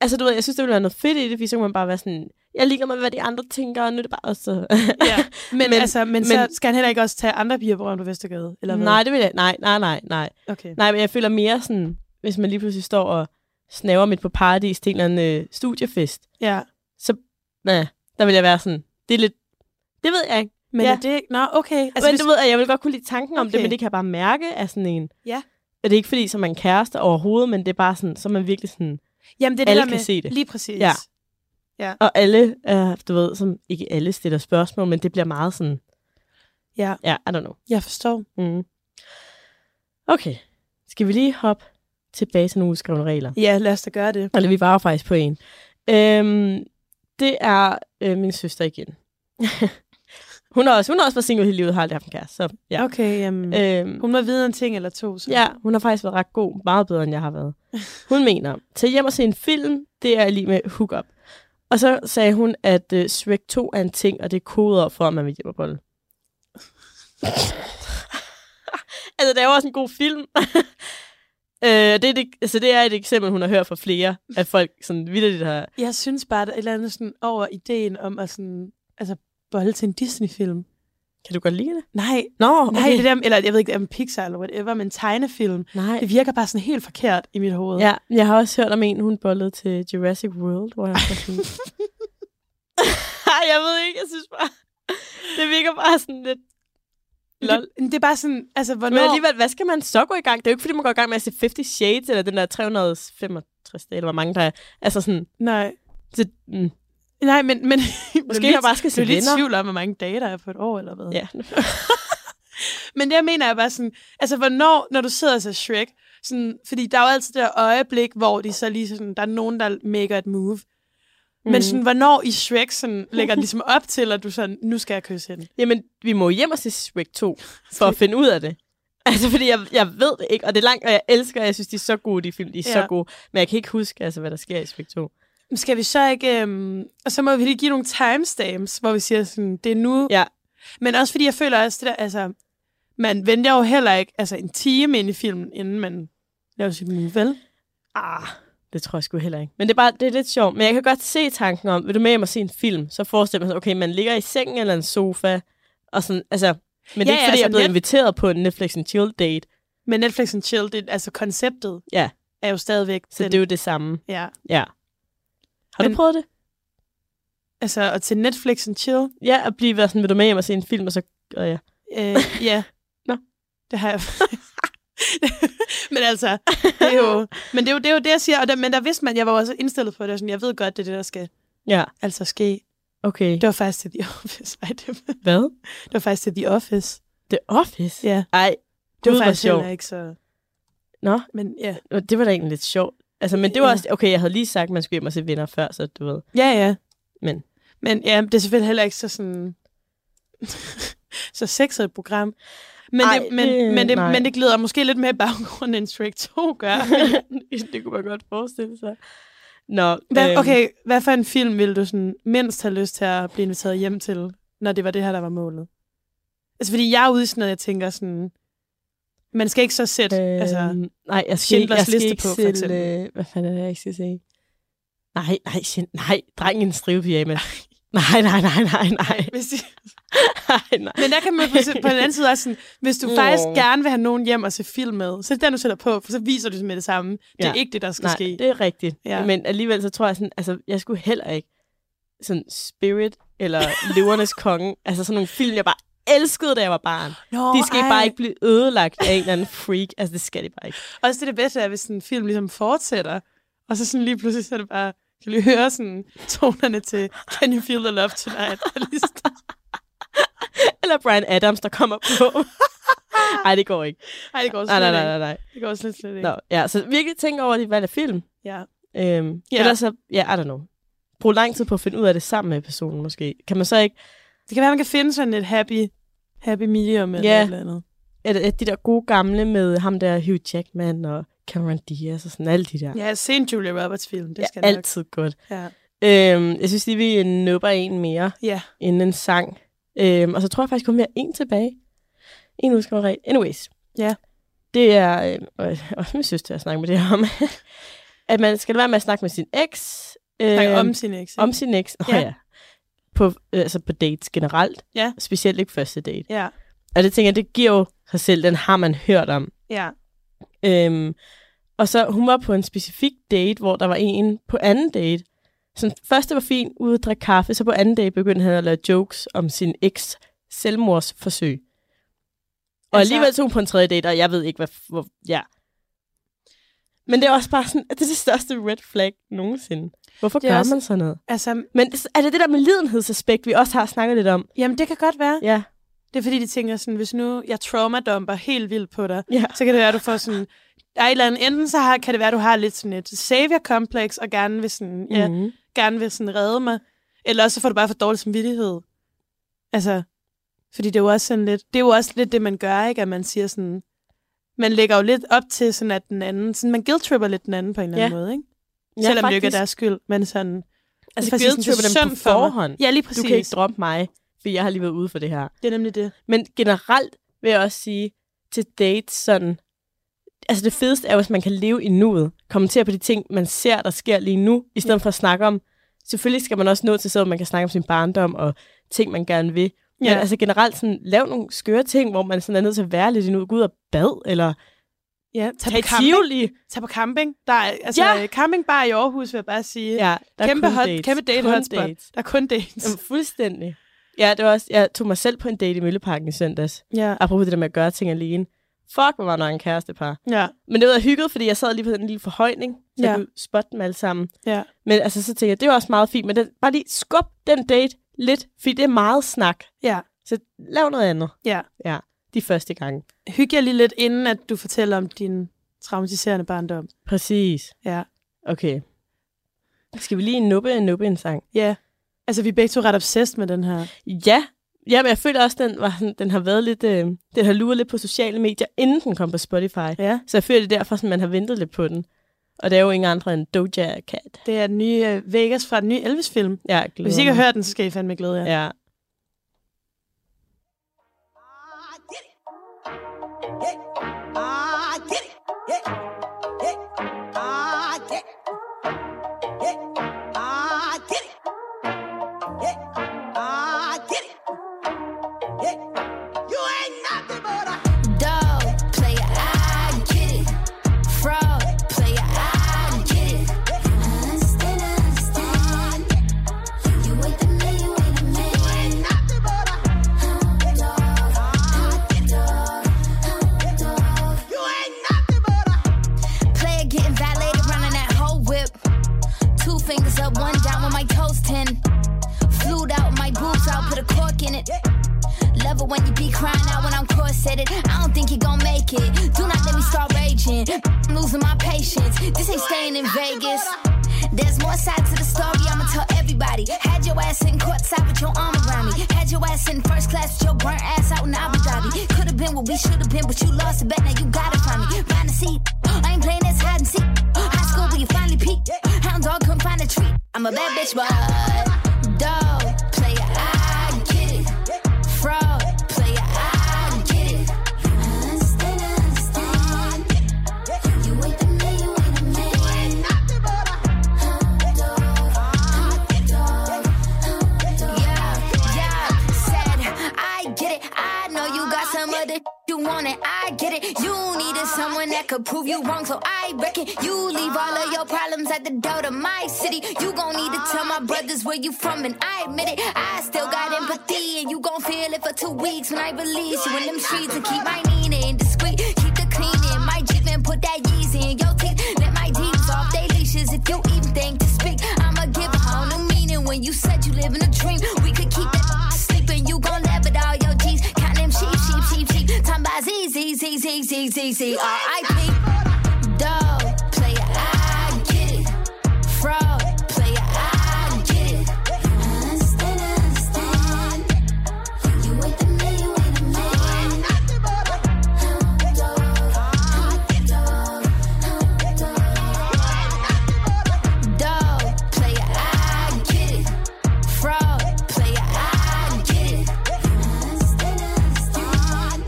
[SPEAKER 4] Altså, du ved, jeg synes, det ville være noget fedt i det, fordi så kunne man bare være sådan... Jeg ligger med, hvad de andre tænker, og nu er det bare også så...
[SPEAKER 3] ja. men, men,
[SPEAKER 4] Men-
[SPEAKER 3] altså, men, men, så skal han heller ikke også tage andre piger på røven på Vestergade, eller hvad?
[SPEAKER 4] nej, det vil jeg... Nej, nej, nej, nej.
[SPEAKER 3] Okay.
[SPEAKER 4] Nej, men jeg føler mere sådan... Hvis man lige pludselig står og snaver midt på paradis til en eller anden øh, studiefest,
[SPEAKER 3] Ja.
[SPEAKER 4] ja, der vil jeg være sådan... Det er lidt... Det ved jeg ikke.
[SPEAKER 3] Men ja.
[SPEAKER 4] Ja.
[SPEAKER 3] er det ikke... Nå, okay.
[SPEAKER 4] Altså, men hvis... du ved, at jeg vil godt kunne lide tanken om det,
[SPEAKER 3] Okay.
[SPEAKER 4] men det kan jeg bare mærke af sådan en...
[SPEAKER 3] Ja.
[SPEAKER 4] Og det er ikke fordi, så er man kærester overhovedet, men det er bare sådan, så er man virkelig sådan...
[SPEAKER 3] jamen, det er
[SPEAKER 4] alle
[SPEAKER 3] det der
[SPEAKER 4] kan
[SPEAKER 3] med,
[SPEAKER 4] se det.
[SPEAKER 3] Lige præcis.
[SPEAKER 4] Ja. Og alle, øh, du ved, som ikke alle stiller spørgsmål, men det bliver meget sådan...
[SPEAKER 3] Ja.
[SPEAKER 4] Ja, I don't know.
[SPEAKER 3] Jeg forstår.
[SPEAKER 4] Mm. Okay, skal vi lige hoppe tilbage til nogle uskrevne regler?
[SPEAKER 3] Ja, lad os da gøre det.
[SPEAKER 4] Eller vi var jo faktisk på en. Øhm, det er øh, min søster igen. hun har også, hun har også været single hele livet, har aldrig haft en kæreste. Så, ja.
[SPEAKER 3] Okay, jamen, øh.
[SPEAKER 4] Øhm,
[SPEAKER 3] hun må vide en ting eller to. Så.
[SPEAKER 4] Ja, hun har faktisk været ret god. Meget bedre, end jeg har været. Hun mener, tag hjem og se en film, det er lige med hook-up. Og så sagde hun, at uh, Shrek 2 er en ting, og det er koder for, at man vil hjem og bolle. altså, det er jo også en god film. Øh, det, er det, altså, det er et eksempel, hun har hørt fra flere af folk, sådan vildt har...
[SPEAKER 3] Jeg synes bare, der er et eller andet sådan over ideen om at sådan, altså, bolle til en Disney-film.
[SPEAKER 4] Kan du godt lide det?
[SPEAKER 3] Nej,
[SPEAKER 4] Nå, okay.
[SPEAKER 3] nej, det der, eller jeg ved ikke, om Pixar eller whatever, men tegnefilm.
[SPEAKER 4] nej.
[SPEAKER 3] Det virker bare sådan helt forkert i mit hoved.
[SPEAKER 4] Ja, jeg har også hørt om en, hun bollede til Jurassic World, hvor jeg var sådan... Ej, jeg ved ikke, jeg synes bare... Det virker bare sådan lidt... Lol.
[SPEAKER 3] Det, det, er bare sådan, altså, hvornår...
[SPEAKER 4] Men alligevel, hvad skal man så gå i gang? Det er jo ikke, fordi man går i gang med at se 50 Shades, eller den der 365 dage, eller hvor mange der er. Altså sådan...
[SPEAKER 3] Nej,
[SPEAKER 4] Så, mm,
[SPEAKER 3] nej, men... men
[SPEAKER 4] måske jeg bare skal
[SPEAKER 3] Du
[SPEAKER 4] se
[SPEAKER 3] er lidt i
[SPEAKER 4] venner.
[SPEAKER 3] tvivl om, hvor mange dage der er på et år, eller hvad?
[SPEAKER 4] Ja.
[SPEAKER 3] Men der mener jeg bare sådan, altså hvornår, når du sidder og ser Shrek, sådan, fordi der er jo altid det der øjeblik, hvor de så lige sådan, der er nogen, der maker et move. Mm. Men sådan, hvornår i Shrek sådan, lægger det ligesom op til, at du sådan, nu skal jeg kysse hende.
[SPEAKER 4] Jamen, vi må jo hjem og se Shrek 2, for at finde ud af det. Altså, fordi jeg, jeg ved det ikke, og det er langt, og jeg elsker, og jeg synes, de er så gode, de film, de er ja.
[SPEAKER 3] Ja.
[SPEAKER 4] så gode. Men jeg kan ikke huske, altså, hvad der sker i Shrek 2.
[SPEAKER 3] Men Skal vi så ikke, øhm, og så må vi lige give nogle timestamps, hvor vi siger sådan, det er nu.
[SPEAKER 4] Ja.
[SPEAKER 3] Men også fordi jeg føler også det der, altså, man venter jo heller ikke altså en time ind i filmen, inden man laver sit move, vel?
[SPEAKER 4] Ah, det tror jeg sgu heller ikke. Men det er bare det er lidt sjovt. Men jeg kan godt se tanken om, vil du med hjem og se en film, så forestiller man sig, okay, man ligger i sengen eller en sofa, og sådan, altså... Men det er
[SPEAKER 3] Ja, ja,
[SPEAKER 4] ikke, fordi jeg er
[SPEAKER 3] sådan
[SPEAKER 4] blevet
[SPEAKER 3] lidt.
[SPEAKER 4] inviteret på en Netflix and Chill date,
[SPEAKER 3] Men Netflix and Chill, det, altså konceptet,
[SPEAKER 4] Ja.
[SPEAKER 3] er jo stadigvæk
[SPEAKER 4] så det er jo det samme.
[SPEAKER 3] ja.
[SPEAKER 4] Ja. Har men,
[SPEAKER 3] Men-
[SPEAKER 4] du prøvet det?
[SPEAKER 3] Altså, og til Netflix and chill.
[SPEAKER 4] Ja, at blive være sådan, vil du med hjem og se en film, og så... Og ja.
[SPEAKER 3] Øh, ja.
[SPEAKER 4] Nå.
[SPEAKER 3] Det har jeg. men altså, det er jo, men det er jo det, er jo det jeg siger. Og der, men der vidste man, jeg var jo også indstillet på det. og Sådan, jeg ved godt, det er det, der skal
[SPEAKER 4] Ja,
[SPEAKER 3] altså ske.
[SPEAKER 4] okay.
[SPEAKER 3] Det var faktisk til The Office. Ej, det, var,
[SPEAKER 4] Hvad?
[SPEAKER 3] det var faktisk til The Office.
[SPEAKER 4] The Office?
[SPEAKER 3] Ja,
[SPEAKER 4] Ej,
[SPEAKER 3] det var
[SPEAKER 4] Gud, hvor
[SPEAKER 3] faktisk
[SPEAKER 4] sjovt.
[SPEAKER 3] heller ikke så...
[SPEAKER 4] Nå.
[SPEAKER 3] Men ja.
[SPEAKER 4] Og det var da egentlig lidt sjovt. Altså, men det var
[SPEAKER 3] Ja.
[SPEAKER 4] også... Okay, jeg havde lige sagt, at man skulle hjem og se venner før, så du ved.
[SPEAKER 3] Ja, ja.
[SPEAKER 4] Men-
[SPEAKER 3] Men ja, det er selvfølgelig heller ikke så sådan... så sexet et program. Men,
[SPEAKER 4] Ej,
[SPEAKER 3] det, men,
[SPEAKER 4] det-
[SPEAKER 3] men, det,
[SPEAKER 4] nej.
[SPEAKER 3] men det glider måske lidt mere i baggrunden, end Shrek 2 gør.
[SPEAKER 4] det kunne man godt forestille sig. Nå,
[SPEAKER 3] Hvad,
[SPEAKER 4] øhm,
[SPEAKER 3] okay, hvad for en film ville du sådan mindst have lyst til at blive inviteret hjem til, når det var det her, der var målet? Altså, fordi jeg er ude i sådan noget, jeg tænker sådan, man skal ikke så sætte, øh, altså,
[SPEAKER 4] Øhm, nej, jeg skal, ikke-
[SPEAKER 3] Schindlers
[SPEAKER 4] jeg skal
[SPEAKER 3] Liste
[SPEAKER 4] ikke
[SPEAKER 3] på, for
[SPEAKER 4] til,
[SPEAKER 3] eksempel.
[SPEAKER 4] øh, hvad fanden er det, jeg ikke skal se? Nej, nej, Schind- nej, drengen i en strivepyjama. Nej, nej, nej, nej, nej.
[SPEAKER 3] hvis de,
[SPEAKER 4] nej, nej.
[SPEAKER 3] men der kan man på, på den anden side også sådan, hvis du
[SPEAKER 4] Åh.
[SPEAKER 3] faktisk gerne vil have nogen hjem og se film med, så er det den, du sætter på, for så viser du det med det samme. Det er
[SPEAKER 4] Ja.
[SPEAKER 3] ikke det, der skal
[SPEAKER 4] Nej,
[SPEAKER 3] ske.
[SPEAKER 4] det er rigtigt. Ja.
[SPEAKER 3] Ja.
[SPEAKER 4] Men alligevel så tror jeg sådan, altså, jeg skulle heller ikke sådan Spirit eller Løvernes Konge, altså sådan nogle film, jeg bare elskede, da jeg var barn.
[SPEAKER 3] Nå,
[SPEAKER 4] De skal bare ikke blive ødelagt af en eller anden freak. Altså, det skal de bare ikke.
[SPEAKER 3] Også det, det bedste er, hvis sådan en film ligesom fortsætter, og så sådan lige pludselig, så er det bare, kan lige høre sådan tonerne til Can You Feel the Love Tonight? Og lige sådan-
[SPEAKER 4] Eller Brian Adams, der kommer på. Nej, det går ikke.
[SPEAKER 3] Ej, det går også
[SPEAKER 4] Nej, nej,
[SPEAKER 3] slet
[SPEAKER 4] nej,
[SPEAKER 3] ikke.
[SPEAKER 4] nej, nej.
[SPEAKER 3] Det går slet, slet ikke.
[SPEAKER 4] Nå, ja, så virkelig tænk over dit valg af film.
[SPEAKER 3] Ja.
[SPEAKER 4] Øhm, ja.
[SPEAKER 3] Ja.
[SPEAKER 4] Eller så, ja, I don't know. Brug lang tid på at finde ud af det sammen med personen, måske. Kan man så ikke,
[SPEAKER 3] Det kan være, man kan finde sådan et happy, happy medium eller
[SPEAKER 4] Ja.
[SPEAKER 3] et eller andet.
[SPEAKER 4] at, at de der gode gamle med ham der Hugh Jackman og Cameron Diaz og sådan alle de der.
[SPEAKER 3] Ja, se en Julia Roberts film, det skal
[SPEAKER 4] ja,
[SPEAKER 3] ja, nok.
[SPEAKER 4] altid godt.
[SPEAKER 3] Ja.
[SPEAKER 4] Øhm, jeg synes lige, vi nupper en mere
[SPEAKER 3] ja.
[SPEAKER 4] inden en sang. Øhm, og så tror jeg faktisk kun, vi har en tilbage. En udskrevet regel. Anyways.
[SPEAKER 3] Ja.
[SPEAKER 4] Det er, øh, og jeg er også min søster, jeg snakker med det her om, at man skal lade være med at snakke med sin eks. Øh,
[SPEAKER 3] Snakke om sin eks. ikke?
[SPEAKER 4] om sin eks. Nå, ja.
[SPEAKER 3] Ja.
[SPEAKER 4] ja. På, øh, altså på dates generelt.
[SPEAKER 3] Ja.
[SPEAKER 4] Specielt ikke første date.
[SPEAKER 3] Ja,
[SPEAKER 4] Og det tænker jeg, det giver jo sig selv, den har man hørt om.
[SPEAKER 3] ja.
[SPEAKER 4] Øhm, og så hun var på en specifik date, hvor der var en på anden date. Så første var fint, ude at drikke kaffe, så på anden date begyndte han at lave jokes om sin eks selvmordsforsøg. Og
[SPEAKER 3] Altså-
[SPEAKER 4] alligevel tog hun på en tredje date, og jeg ved ikke, hvad... Hvor, ja. Men det er også bare sådan, at det er det største red flag nogensinde. Hvorfor
[SPEAKER 3] Det er
[SPEAKER 4] gør
[SPEAKER 3] også-
[SPEAKER 4] man sådan noget?
[SPEAKER 3] Altså,
[SPEAKER 4] Men s- er det det der med lidenhedsaspekt, vi også har snakket lidt om?
[SPEAKER 3] jamen det kan godt være.
[SPEAKER 4] Ja.
[SPEAKER 3] Det er fordi, de tænker sådan, hvis nu jeg traumadumper helt vildt på dig,
[SPEAKER 4] ja.
[SPEAKER 3] så kan det være, at du får sådan... Der er et eller andet. Enten så har, kan det være, at du har lidt sådan et savior-kompleks, og gerne vil, sådan, ja, mm.
[SPEAKER 4] Mm.
[SPEAKER 3] gerne vil sådan redde mig. Eller også så får du bare for dårlig samvittighed. Altså, fordi det er jo også sådan lidt, det er jo også lidt det, man gør, ikke? At man siger sådan, man lægger jo lidt op til sådan, at den anden, sådan man guilt-tripper lidt den anden på en eller anden måde, ikke? Ja, Selvom det jo ikke er deres skyld, men sådan...
[SPEAKER 4] Altså,
[SPEAKER 3] præcis,
[SPEAKER 4] guilt
[SPEAKER 3] det er
[SPEAKER 4] tripper dem
[SPEAKER 3] synd
[SPEAKER 4] på
[SPEAKER 3] for mig.
[SPEAKER 4] forhånd.
[SPEAKER 3] Ja, lige
[SPEAKER 4] Du
[SPEAKER 3] præcis.
[SPEAKER 4] kan ikke droppe mig, for jeg har lige været ude for det her.
[SPEAKER 3] det er nemlig det.
[SPEAKER 4] Men generelt vil jeg også sige, til dates sådan, altså det fedeste er jo, hvis man kan leve i nuet. Kommentere på de ting, man ser, der sker lige nu, i stedet for at snakke om. Selvfølgelig skal man også nå til, så man kan snakke om sin barndom og ting, man gerne vil. Ja. Men altså generelt, sådan, lav nogle skøre ting, hvor man sådan er nødt til at være lidt i nuet. Gå ud og bad, eller
[SPEAKER 3] ja, tag,
[SPEAKER 4] tag
[SPEAKER 3] på
[SPEAKER 4] i
[SPEAKER 3] camping.
[SPEAKER 4] Tivoli.
[SPEAKER 3] Tag på camping. Der er, altså,
[SPEAKER 4] Ja.
[SPEAKER 3] ja. campingbar i Aarhus, vil jeg bare sige.
[SPEAKER 4] Ja, der
[SPEAKER 3] kæmpe,
[SPEAKER 4] er kun
[SPEAKER 3] hot,
[SPEAKER 4] dates.
[SPEAKER 3] kæmpe date
[SPEAKER 4] Kun
[SPEAKER 3] hotspot.
[SPEAKER 4] dates.
[SPEAKER 3] Der er kun dates.
[SPEAKER 4] Jamen, fuldstændig. Ja, det var også, jeg tog mig selv på en date i Mølleparken i søndags.
[SPEAKER 3] Ja.
[SPEAKER 4] Apropos det der med at gøre ting alene. Fuck, hvor var der en kærestepar.
[SPEAKER 3] ja.
[SPEAKER 4] Men det var hygget, fordi jeg sad lige på den lille forhøjning, så ja.
[SPEAKER 3] Ja.
[SPEAKER 4] jeg kunne spotte dem alle sammen.
[SPEAKER 3] Ja.
[SPEAKER 4] Men altså, så tænkte jeg, det var også meget fint, men den, bare lige skub den date lidt, fordi det er meget snak.
[SPEAKER 3] Ja.
[SPEAKER 4] Så lav noget andet.
[SPEAKER 3] Ja.
[SPEAKER 4] Ja, de første gange.
[SPEAKER 3] Hyg jer lige lidt, inden at du fortæller om din traumatiserende barndom.
[SPEAKER 4] Præcis.
[SPEAKER 3] Ja.
[SPEAKER 4] Okay. Skal vi lige nuppe en nuppe en sang?
[SPEAKER 3] Ja. Altså, vi er begge to ret obsessed med den her.
[SPEAKER 4] Ja. Ja, men jeg føler også, den, var, sådan- den har været lidt, øh, den har luret lidt på sociale medier, inden den kom på Spotify.
[SPEAKER 3] Ja.
[SPEAKER 4] Så jeg føler, det er derfor, sådan, man har ventet lidt på den. Og det er jo ingen andre end Doja Cat.
[SPEAKER 3] Det er den nye øh, Vegas fra den nye Elvis-film.
[SPEAKER 4] Ja,
[SPEAKER 3] Hvis I ikke har hørt den, så skal I fandme glæde jer.
[SPEAKER 4] Ja.
[SPEAKER 6] Dog, player, I get it. Fraud, player, I get it. I understand, I understand. You ain't the man, you ain't the man. You ain't nothing but a hound dog, hound dog, hound dog. You ain't nothing but a player getting violated, running that whole whip. Two fingers up, one down with my toes ten. Flued out my boobs out, put a cork in it. Love it when you be crying out when I'm corseted. I don't think you gon' make it. Do not let me start raging. I'm losing my patience. This ain't staying in Vegas. There's more sides to the story, I'ma tell everybody. Had your ass in courtside with your arm around me. Had your ass in first class with your burnt ass out in Abu Dhabi. Could've been what we should've been, but you lost the bet, now you gotta find me. Find a seat. I ain't playing this hide and seek. High school where you finally peaked. Hound dog couldn't find a treat. I'm a bad bitch, but dog player, I get it. Fraud, player, I get it. I understand, I understand. You ain't the man, you ain't the man. You ain't nothing but a hound dog, hound dog, hound dog. Yeah, yeah. Said, I get it. I know you got some other you want it. I get it. You needed someone that could prove you wrong, so I reckon you leave all of your problems at the door to my city. You gon' need to tell my brothers where you from, and I admit it. I still got empathy, and you gon' feel it for two weeks when I release you in them streets and keep my Nina indiscreet. Keep the clean in my Jeep and put that Yeezy in your teeth. Let my deeps off they leashes if you even think to speak. I'ma give a whole new meaning when you said you live in a dream. We could keep that sleeping, you gon' laugh at all your G's. Count them sheep, sheep, sheep, sheep. Time by Z, Z, Z, Z, Z, Z, Z, R.I.P. Dog, player, I get it. Fraud, player, I get it. I understand, I understand. You ain't the man, you ain't the man. You ain't nothing but a hound dog, hound dog, hound dog. You ain't nothing but a dog, player, I get it. Fraud, player, I get it. I understand, I understand.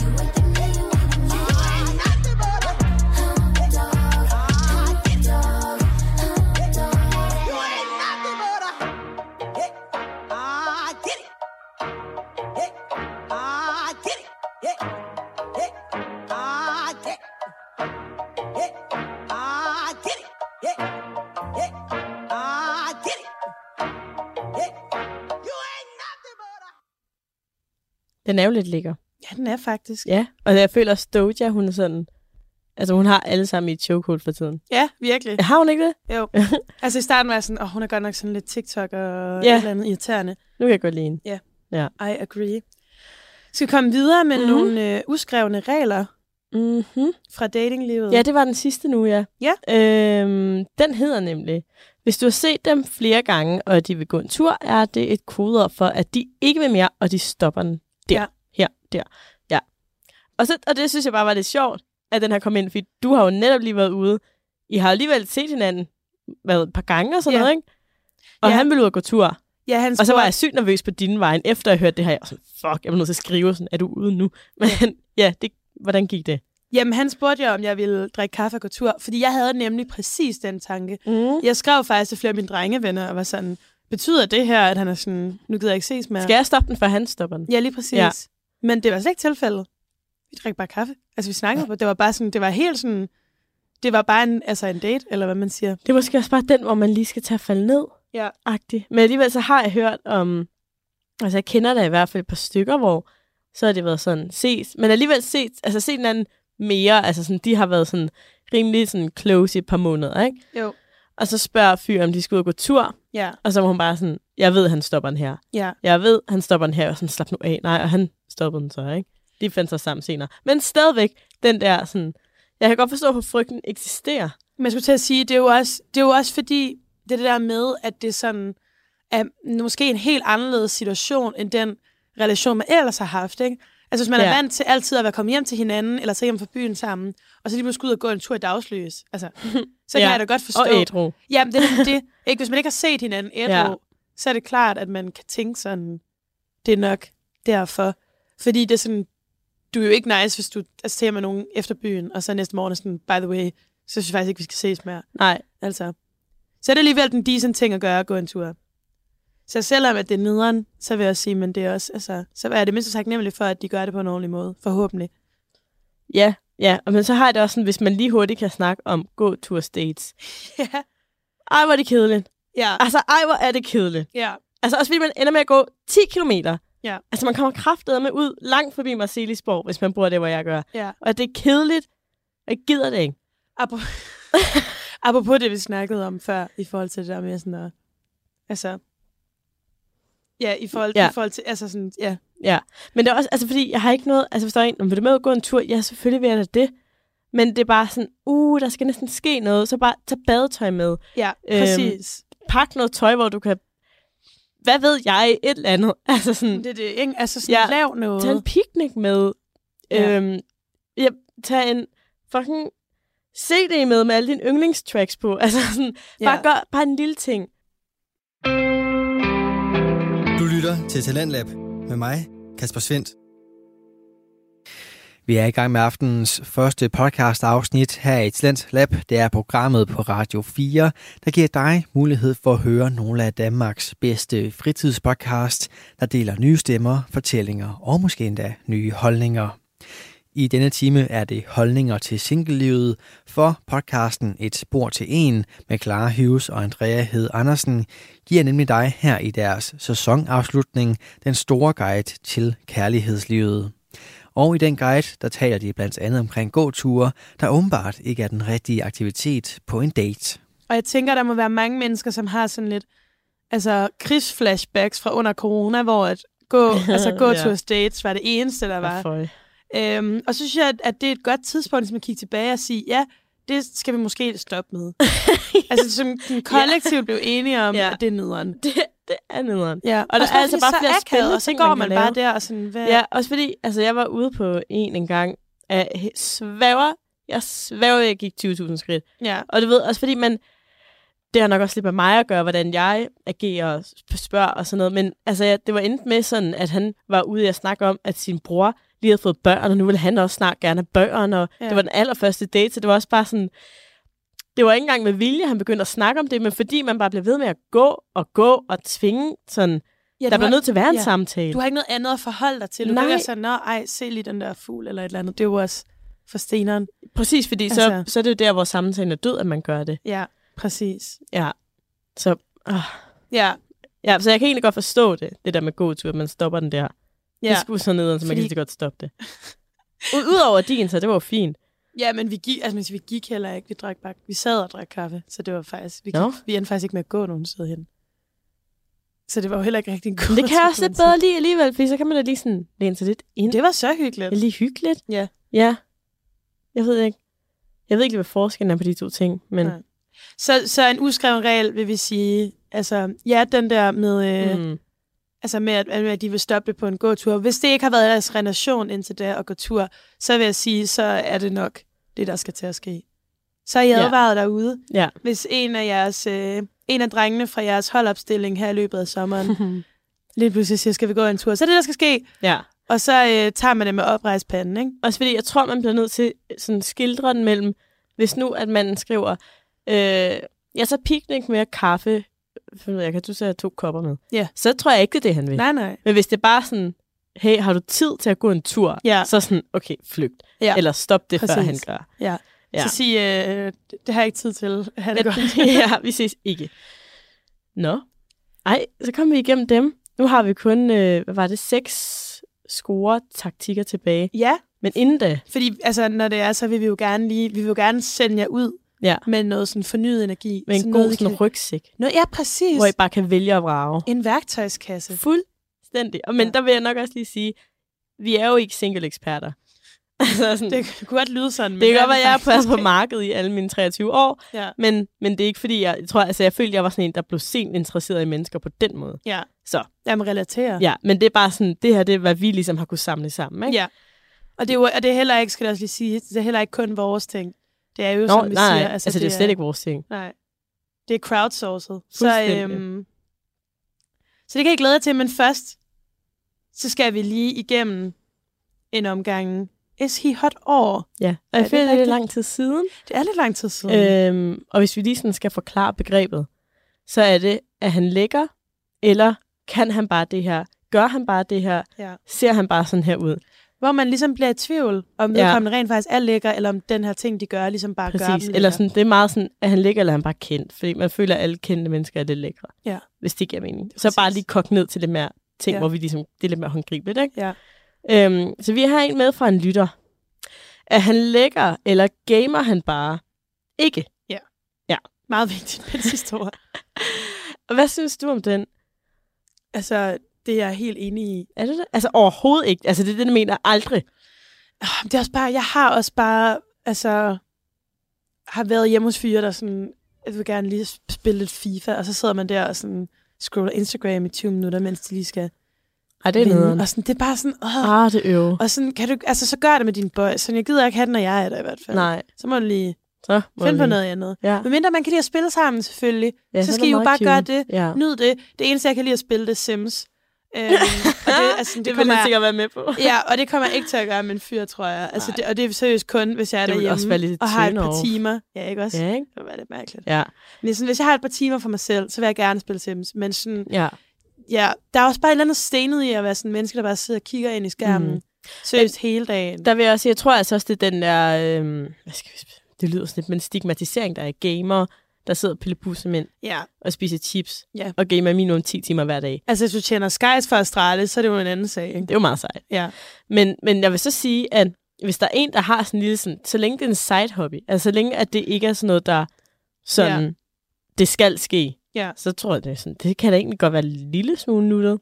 [SPEAKER 6] You ain't the man, you ain't the man. You ain't nothing but a hound dog, hound dog, hound dog. You ain't nothing but a
[SPEAKER 4] Den er jo lidt lækker.
[SPEAKER 3] Ja, den er faktisk.
[SPEAKER 4] Ja, og jeg føler også Doja, hun er sådan... Altså, hun har alle sammen i et chokehold for tiden.
[SPEAKER 3] Ja, virkelig.
[SPEAKER 4] Har hun ikke det?
[SPEAKER 3] Jo. Altså i starten var jeg sådan, åh, oh, hun er godt nok sådan lidt TikTok og
[SPEAKER 4] Ja.
[SPEAKER 3] et eller andet irriterende.
[SPEAKER 4] Nu kan jeg godt lide hende.
[SPEAKER 3] I agree. Skal vi komme videre med
[SPEAKER 4] Mhm.
[SPEAKER 3] mm-hmm. nogle øh, uskrevne regler
[SPEAKER 4] Mm-hmm.
[SPEAKER 3] fra datinglivet?
[SPEAKER 4] Ja, det var den sidste nu, ja.
[SPEAKER 3] Ja.
[SPEAKER 4] Øhm, den hedder nemlig, hvis du har set dem flere gange, og de vil gå en tur, er det et kodeord for, at de ikke vil mere, og de stopper den der, ja.
[SPEAKER 3] Ja.
[SPEAKER 4] her, der, ja. Og, så, og det synes jeg bare var lidt sjovt, at den her kom ind, fordi du har jo netop lige været ude. I har alligevel set hinanden hvad, et par gange og sådan
[SPEAKER 3] Ja.
[SPEAKER 4] noget, ikke? Og
[SPEAKER 3] Ja.
[SPEAKER 4] han ville ud og gå tur.
[SPEAKER 3] ja han
[SPEAKER 4] Og så var
[SPEAKER 3] spurgte-
[SPEAKER 4] jeg sygt nervøs på din vejen, efter jeg hørte det her. Jeg var sådan, fuck, jeg var nødt til at skrive sådan, er du ude nu? Men ja, det, hvordan gik det?
[SPEAKER 3] Jamen, han spurgte jeg, om jeg ville drikke kaffe og gå tur, fordi jeg havde nemlig præcis den tanke.
[SPEAKER 4] Mm.
[SPEAKER 3] Jeg skrev faktisk til flere af mine drengevenner og var sådan, betyder det her, at han er sådan, nu gider jeg ikke ses mere?
[SPEAKER 4] Skal jeg stoppe den, for han stopper den?
[SPEAKER 3] Ja, lige præcis.
[SPEAKER 4] Ja.
[SPEAKER 3] Ja. Men det var slet ikke tilfældet. Vi drak bare kaffe. Altså, vi snakkede på. Det var bare sådan, det var helt sådan, det var bare en, altså en date, eller hvad man siger.
[SPEAKER 4] Det er måske også bare den, hvor man lige skal tage at falde ned.
[SPEAKER 3] Ja.
[SPEAKER 4] Agtig. Men alligevel så har jeg hørt om, altså jeg kender da i hvert fald et par stykker, hvor så har det været sådan, ses. Men alligevel set, altså set hinanden mere, altså sådan, de har været sådan rimelig sådan close i et par måneder, ikke?
[SPEAKER 3] Jo.
[SPEAKER 4] Og så spørger fyren, om de skal ud og gå tur,
[SPEAKER 3] Ja,
[SPEAKER 4] og så var hun bare sådan, jeg ved, han stopper den her.
[SPEAKER 3] ja.
[SPEAKER 4] Jeg ved, han stopper den her, og sådan, slap nu af. Nej, og han stoppede den så, ikke? De fandt sig sammen senere. Men stadigvæk, den der sådan, jeg kan godt forstå, hvor frygten eksisterer.
[SPEAKER 3] Men jeg skulle til at sige, det er jo også, det er jo også fordi, det er det der med, at det sådan er måske en helt anderledes situation, end den relation, man ellers har haft, ikke? Altså hvis man ja.
[SPEAKER 4] Ja.
[SPEAKER 3] er vant til altid at være kommet hjem til hinanden, eller tage hjem fra byen sammen, og så lige pludselig ud og gå en tur i dagslys, altså, så
[SPEAKER 4] Ja.
[SPEAKER 3] kan jeg da godt forstå.
[SPEAKER 4] Og ædru.
[SPEAKER 3] Jamen, det er nemlig det. Ikke? Hvis man ikke har set hinanden et
[SPEAKER 4] Ja.
[SPEAKER 3] ja. år, så er det klart, at man kan tænke sådan, det er nok derfor. Fordi det er sådan, du er jo ikke nice, hvis du altså, ser med nogen efter byen, og så næste morgen er sådan, by the way, så synes jeg faktisk ikke, vi skal ses mere.
[SPEAKER 4] Nej,
[SPEAKER 3] Altså. Så er det alligevel den decent ting at gøre, at gå en tur. Så selvom at det er nederen, så vil jeg sige, men det er også, altså, så er jeg det mindst taknemmelig for, at de gør det på en ordentlig måde, forhåbentlig.
[SPEAKER 4] Ja, ja. Og men så har jeg det også sådan, hvis man lige hurtigt kan snakke om gå tur dates.
[SPEAKER 3] Ja.
[SPEAKER 4] Ej, hvor er det kedeligt.
[SPEAKER 3] Ja.
[SPEAKER 4] Altså, ej, hvor er det kedeligt.
[SPEAKER 3] Ja.
[SPEAKER 4] Altså, også fordi man ender med at gå 10 kilometer.
[SPEAKER 3] Ja.
[SPEAKER 4] Altså, man kommer kraftedet med ud langt forbi Marcelisborg, hvis man bruger det, hvor jeg gør.
[SPEAKER 3] Ja.
[SPEAKER 4] Og det er kedeligt. og Jeg gider det ikke.
[SPEAKER 3] Apropos, apropos det, vi snakkede om før, i forhold til det der med sådan at, altså, ja, i forhold,
[SPEAKER 4] Ja.
[SPEAKER 3] ja. I forhold til, altså sådan, ja,
[SPEAKER 4] Men det er også, altså, fordi jeg har ikke noget... Altså, hvis der er en, "Nå, vil du med ud og gå en tur? Ja, selvfølgelig vil jeg da det. Men det er bare sådan, uh, der skal næsten ske noget. Så bare tag badetøj med.
[SPEAKER 3] ja,
[SPEAKER 4] Øhm,
[SPEAKER 3] præcis.
[SPEAKER 4] Pak noget tøj, hvor du kan... Hvad ved jeg? Et eller andet. Altså sådan...
[SPEAKER 3] Det er det, ikke? Altså sådan, ja.
[SPEAKER 4] Ja.
[SPEAKER 3] lav
[SPEAKER 4] Tag en
[SPEAKER 3] noget.
[SPEAKER 4] picnic med. Ja.
[SPEAKER 3] Ja.
[SPEAKER 4] Øhm, ja, tag en fucking CD med med alle dine yndlingstracks på. Altså sådan, ja. bare,
[SPEAKER 3] Ja.
[SPEAKER 4] gør, bare en lille ting.
[SPEAKER 1] Du lytter til Talentlab med mig, Kasper Svendt. Vi er i gang med aftenens første podcast afsnit her i Talent Lab. Det er programmet på Radio 4, der giver dig mulighed for at høre nogle af Danmarks bedste fritidspodcast, der deler nye stemmer, fortællinger og måske endda nye holdninger. I denne time er det holdninger til singellivet for podcasten Et spor til en med Clara Hughes og Andrea Hed Andersen giver nemlig dig her i deres sæsonafslutning den store guide til kærlighedslivet. Og i den guide, der taler de blandt andet omkring gåture, der åbenbart ikke er den rigtige aktivitet på en date.
[SPEAKER 3] Og jeg tænker, der må være mange mennesker, som har sådan lidt, altså krigsflashbacks fra under corona, hvor at gå, altså gå
[SPEAKER 4] Ja.
[SPEAKER 3] ja. dates var det eneste, der var.
[SPEAKER 4] Hvorfor?
[SPEAKER 3] Øhm, og så synes jeg, at- at det er et godt tidspunkt, som at kigge tilbage og sige, ja, det skal vi måske stoppe med. altså, som den kollektivt blev enige om,
[SPEAKER 4] Ja.
[SPEAKER 3] ja. at det er nederen.
[SPEAKER 4] Det, det er nederen.
[SPEAKER 3] Ja, og der
[SPEAKER 4] Også
[SPEAKER 3] er
[SPEAKER 4] bare
[SPEAKER 3] altså
[SPEAKER 4] fordi,
[SPEAKER 3] bare
[SPEAKER 4] så
[SPEAKER 3] flere
[SPEAKER 4] akavet,
[SPEAKER 3] spændende,
[SPEAKER 4] og
[SPEAKER 3] og
[SPEAKER 4] så
[SPEAKER 3] så
[SPEAKER 4] går
[SPEAKER 3] går
[SPEAKER 4] man
[SPEAKER 3] man
[SPEAKER 4] lave.
[SPEAKER 3] bare der og sådan, hvad...
[SPEAKER 4] Ja, også fordi, altså jeg var ude på en engang, jeg svæver, jeg svæver, jeg gik 20.000 skridt.
[SPEAKER 3] ja,
[SPEAKER 4] Og du ved, også fordi man, det har nok også lidt med mig at gøre, hvordan jeg agerer og sp- spørger og sådan noget, men altså, ja, det var endt med sådan, at han var ude og snakke om, at sin bror lige havde fået børn, og nu ville han også snart gerne have børn, og ja.
[SPEAKER 3] Ja.
[SPEAKER 4] det var den allerførste date, så det var også bare sådan, det var ikke engang med vilje, han begyndte at snakke om det, men fordi man bare blev ved med at gå og gå og tvinge, sådan,
[SPEAKER 3] ja
[SPEAKER 4] ja, der
[SPEAKER 3] du,
[SPEAKER 4] blev
[SPEAKER 3] har,
[SPEAKER 4] nødt til at være en ja.
[SPEAKER 3] ja.
[SPEAKER 4] samtale.
[SPEAKER 3] du har ikke noget andet at forholde dig til. Du
[SPEAKER 4] Nej.
[SPEAKER 3] kan ikke være sådan, nå, ej, se lige den der fugl eller et eller andet. Det er jo også for steneren.
[SPEAKER 4] Præcis, fordi så,
[SPEAKER 3] Altså-
[SPEAKER 4] så er det jo der, hvor samtalen er død, at man gør det.
[SPEAKER 3] Ja, præcis.
[SPEAKER 4] Ja. Så, øh.
[SPEAKER 3] Ja,
[SPEAKER 4] ja, så jeg kan egentlig godt forstå det, det der med god tur, at man stopper den der. Ja.
[SPEAKER 3] ja.
[SPEAKER 4] Det skulle så nederen, så man
[SPEAKER 3] Fordi-
[SPEAKER 4] Fordi... kan lige så godt stoppe det. U- Udover din, så det var jo fint.
[SPEAKER 3] ja men vi gik, altså, men vi gik heller ikke. Vi drak bare, vi sad og drak kaffe, så det var faktisk, vi, gik,
[SPEAKER 4] Nå.
[SPEAKER 3] vi endte faktisk ikke med at gå nogen sted hen. Så det var jo heller ikke rigtig en god
[SPEAKER 4] Men det kan jeg også lidt
[SPEAKER 3] oplevelse.
[SPEAKER 4] bedre lige alligevel, fordi så kan man da lige sådan læne sig lidt ind. Det
[SPEAKER 3] Det var så hyggeligt.
[SPEAKER 4] er lige hyggeligt.
[SPEAKER 3] Ja.
[SPEAKER 4] Ja. Jeg ved ikke. Jeg ved ikke, lige, hvad forskellen er på de to ting, men...
[SPEAKER 3] Nej. Så, så en uskreven regel vil vi sige, altså ja, den der med, øh, mm.
[SPEAKER 4] Mm.
[SPEAKER 3] altså med at, at de vil stoppe det på en gåtur. Hvis det ikke har været deres relation indtil da at gå tur, så vil jeg sige, så er det nok det, der skal til at ske. Så er I
[SPEAKER 4] Ja.
[SPEAKER 3] advaret derude.
[SPEAKER 4] Ja.
[SPEAKER 3] Hvis en af jeres, øh, en af drengene fra jeres holdopstilling her i løbet af sommeren, lige pludselig siger, skal vi gå en tur, så er det, der skal ske.
[SPEAKER 4] ja.
[SPEAKER 3] Og så øh, tager man det med oprejst panden, ikke?
[SPEAKER 4] Også fordi jeg tror, man bliver nødt til øh, sådan skildre den mellem, hvis nu, at manden skriver, øh, jeg tager picnic med kaffe, for jeg kan du så have to kopper med.
[SPEAKER 3] Ja.
[SPEAKER 4] Så tror jeg ikke, det er det, han vil.
[SPEAKER 3] Nej, nej.
[SPEAKER 4] Men hvis det er bare sådan, hey, har du tid til at gå en tur?
[SPEAKER 3] Ja.
[SPEAKER 4] Så sådan, okay, flygt.
[SPEAKER 3] Ja.
[SPEAKER 4] Eller stop det, Præcis. før
[SPEAKER 3] Præcis.
[SPEAKER 4] han gør.
[SPEAKER 3] Ja.
[SPEAKER 4] Ja.
[SPEAKER 3] ja. Så sig, øh, det, det har jeg ikke tid til. Ha' det godt.
[SPEAKER 4] ja, vi ses ikke. Nå. Ej, så kom vi igennem dem. Nu har vi kun, øh, hvad var det, seks score-taktikker tilbage.
[SPEAKER 3] ja,
[SPEAKER 4] Men inden da,
[SPEAKER 3] fordi altså, når det er, så vil vi jo gerne lige, vi vil jo gerne sende jer ud
[SPEAKER 4] Ja.
[SPEAKER 3] med noget sådan fornyet energi.
[SPEAKER 4] med en
[SPEAKER 3] sådan
[SPEAKER 4] god
[SPEAKER 3] noget, I
[SPEAKER 4] sådan,
[SPEAKER 3] kan-
[SPEAKER 4] rygsæk,
[SPEAKER 3] noget, Ja, præcis.
[SPEAKER 4] hvor I bare kan vælge og vrage.
[SPEAKER 3] En værktøjskasse.
[SPEAKER 4] Fuldstændig. Og, men ja.
[SPEAKER 3] Ja.
[SPEAKER 4] der vil jeg nok også lige sige, vi er jo ikke single-eksperter. Altså sådan, det,
[SPEAKER 3] Det kunne godt lyde sådan. men
[SPEAKER 4] det kan godt
[SPEAKER 3] er
[SPEAKER 4] være,
[SPEAKER 3] det
[SPEAKER 4] jeg har
[SPEAKER 3] faktisk
[SPEAKER 4] passet på
[SPEAKER 3] ikke.
[SPEAKER 4] markedet i alle mine 23 år,
[SPEAKER 3] Ja.
[SPEAKER 4] men, men det er ikke fordi, jeg, jeg tror, altså jeg følte, jeg var sådan en, der blev sent interesseret i mennesker på den måde.
[SPEAKER 3] Ja.
[SPEAKER 4] Så.
[SPEAKER 3] Jamen, relaterer.
[SPEAKER 4] Ja, men det er bare sådan, det her, det er, hvad vi ligesom har kunne samle sammen, ikke?
[SPEAKER 3] ja. Og det, er jo, og det er heller ikke, skal jeg også lige sige, det er heller ikke kun vores ting. Det er jo,
[SPEAKER 4] Nå,
[SPEAKER 3] som vi
[SPEAKER 4] nej, nej,
[SPEAKER 3] siger.
[SPEAKER 4] altså, altså det, er jo slet ikke vores ting.
[SPEAKER 3] Nej. Det er crowdsourcet. Så,
[SPEAKER 4] Fuldstændig.
[SPEAKER 3] øhm, så det kan jeg glæde jer til, men først, så skal vi lige igennem en omgang. Is he hot or?
[SPEAKER 4] Ja, og
[SPEAKER 3] Er
[SPEAKER 4] jeg
[SPEAKER 3] det
[SPEAKER 4] føler, det er
[SPEAKER 3] rigtigt?
[SPEAKER 4] lang tid siden.
[SPEAKER 3] Det er lidt lang tid siden.
[SPEAKER 4] Øhm, og hvis vi lige sådan skal forklare begrebet, så er det, at han lægger, eller kan han bare det her? Gør han bare det her?
[SPEAKER 3] Ja.
[SPEAKER 4] Ser han bare sådan her ud?
[SPEAKER 3] Hvor man ligesom bliver i tvivl, om
[SPEAKER 4] Ja.
[SPEAKER 3] ja. vedkommende rent faktisk er lækker, eller om den her ting, de gør, ligesom bare gør dem
[SPEAKER 4] Præcis.
[SPEAKER 3] lækker.
[SPEAKER 4] Eller sådan, det er meget sådan, at han ligger, eller er han bare kendt. Fordi man føler, at alle kendte mennesker er lidt lækre.
[SPEAKER 3] Ja.
[SPEAKER 4] Hvis det giver mening.
[SPEAKER 3] er
[SPEAKER 4] Så bare
[SPEAKER 3] præcis.
[SPEAKER 4] lige kogt ned til det mere ting, ja.
[SPEAKER 3] Ja.
[SPEAKER 4] hvor vi ligesom, det er lidt mere håndgribeligt, ikke?
[SPEAKER 3] Ja.
[SPEAKER 4] Øhm, så vi har en med fra en lytter. Er han lækker, eller gamer han bare? Ikke.
[SPEAKER 3] Meget vigtigt med det sidste ord.
[SPEAKER 4] Og hvad synes du om den?
[SPEAKER 3] altså, det er jeg helt enig i.
[SPEAKER 4] Er det det? Altså overhovedet ikke. Altså det er det, den mener aldrig.
[SPEAKER 3] Ah, men Det er også bare, jeg har også bare, altså, har været hjemme hos fyre, der sådan, jeg vil gerne lige sp- spille lidt FIFA, og så sidder man der og sådan, scroller Instagram i 20 minutter, mens de lige skal
[SPEAKER 4] Ej, det er
[SPEAKER 3] vinde.
[SPEAKER 4] nederen.
[SPEAKER 3] Og sådan, det er bare sådan, åh,
[SPEAKER 4] Ah, det øver.
[SPEAKER 3] og sådan, kan du, altså, så gør det med din boy. Sådan, jeg gider ikke have den, når jeg er der i hvert fald.
[SPEAKER 4] Nej.
[SPEAKER 3] Så må du lige
[SPEAKER 4] Så må
[SPEAKER 3] finde
[SPEAKER 4] vi-
[SPEAKER 3] på noget andet.
[SPEAKER 4] Ja.
[SPEAKER 3] Men mindre man kan lide at spille sammen, selvfølgelig.
[SPEAKER 4] ja
[SPEAKER 3] så
[SPEAKER 4] er
[SPEAKER 3] skal
[SPEAKER 4] det
[SPEAKER 3] I jo
[SPEAKER 4] meget
[SPEAKER 3] bare
[SPEAKER 4] cute.
[SPEAKER 3] gøre det.
[SPEAKER 4] Ja.
[SPEAKER 3] Nyd det. Det eneste, jeg kan lide at spille, det er Sims. Øhm, og det, altså, det,
[SPEAKER 4] det vil
[SPEAKER 3] kommer
[SPEAKER 4] han
[SPEAKER 3] jeg,
[SPEAKER 4] sikkert være med på.
[SPEAKER 3] Ja, og det kommer jeg ikke til at gøre med en fyr, tror jeg. Altså,
[SPEAKER 4] Nej.
[SPEAKER 3] det, og det er seriøst kun, hvis jeg er
[SPEAKER 4] Det ville
[SPEAKER 3] derhjemme
[SPEAKER 4] også være lidt
[SPEAKER 3] og har et par
[SPEAKER 4] turn-off.
[SPEAKER 3] timer. Ja, ikke også?
[SPEAKER 4] Ja, ikke?
[SPEAKER 3] Det var lidt mærkeligt.
[SPEAKER 4] Ja.
[SPEAKER 3] Men sådan, hvis jeg har et par timer for mig selv, så vil jeg gerne spille Sims. Men sådan,
[SPEAKER 4] ja.
[SPEAKER 3] ja, der er også bare et eller andet stenet i at være sådan en menneske, der bare sidder og kigger ind i skærmen.
[SPEAKER 4] Mhm.
[SPEAKER 3] Mm. Seriøst hele dagen.
[SPEAKER 4] Der vil jeg også sige, jeg tror altså også, det er den der, øhm, hvad skal vi sp- det lyder sådan lidt, men stigmatisering, der er gamer, der sidder og piller bussemænd
[SPEAKER 3] ja.
[SPEAKER 4] og spiser chips
[SPEAKER 3] Ja.
[SPEAKER 4] og gamer minimum 10 timer hver dag.
[SPEAKER 3] Altså, hvis du tjener Skies for Astralis, så er det jo en anden sag, ikke?
[SPEAKER 4] Det er jo meget sejt.
[SPEAKER 3] Ja.
[SPEAKER 4] Men, men jeg vil så sige, at hvis der er en, der har sådan en lille sådan, så længe det er en side hobby, altså så længe at det ikke er sådan noget, der sådan, ja. det skal ske,
[SPEAKER 3] Ja.
[SPEAKER 4] så tror jeg, det, er sådan, det kan da egentlig godt være en lille smule nuttet.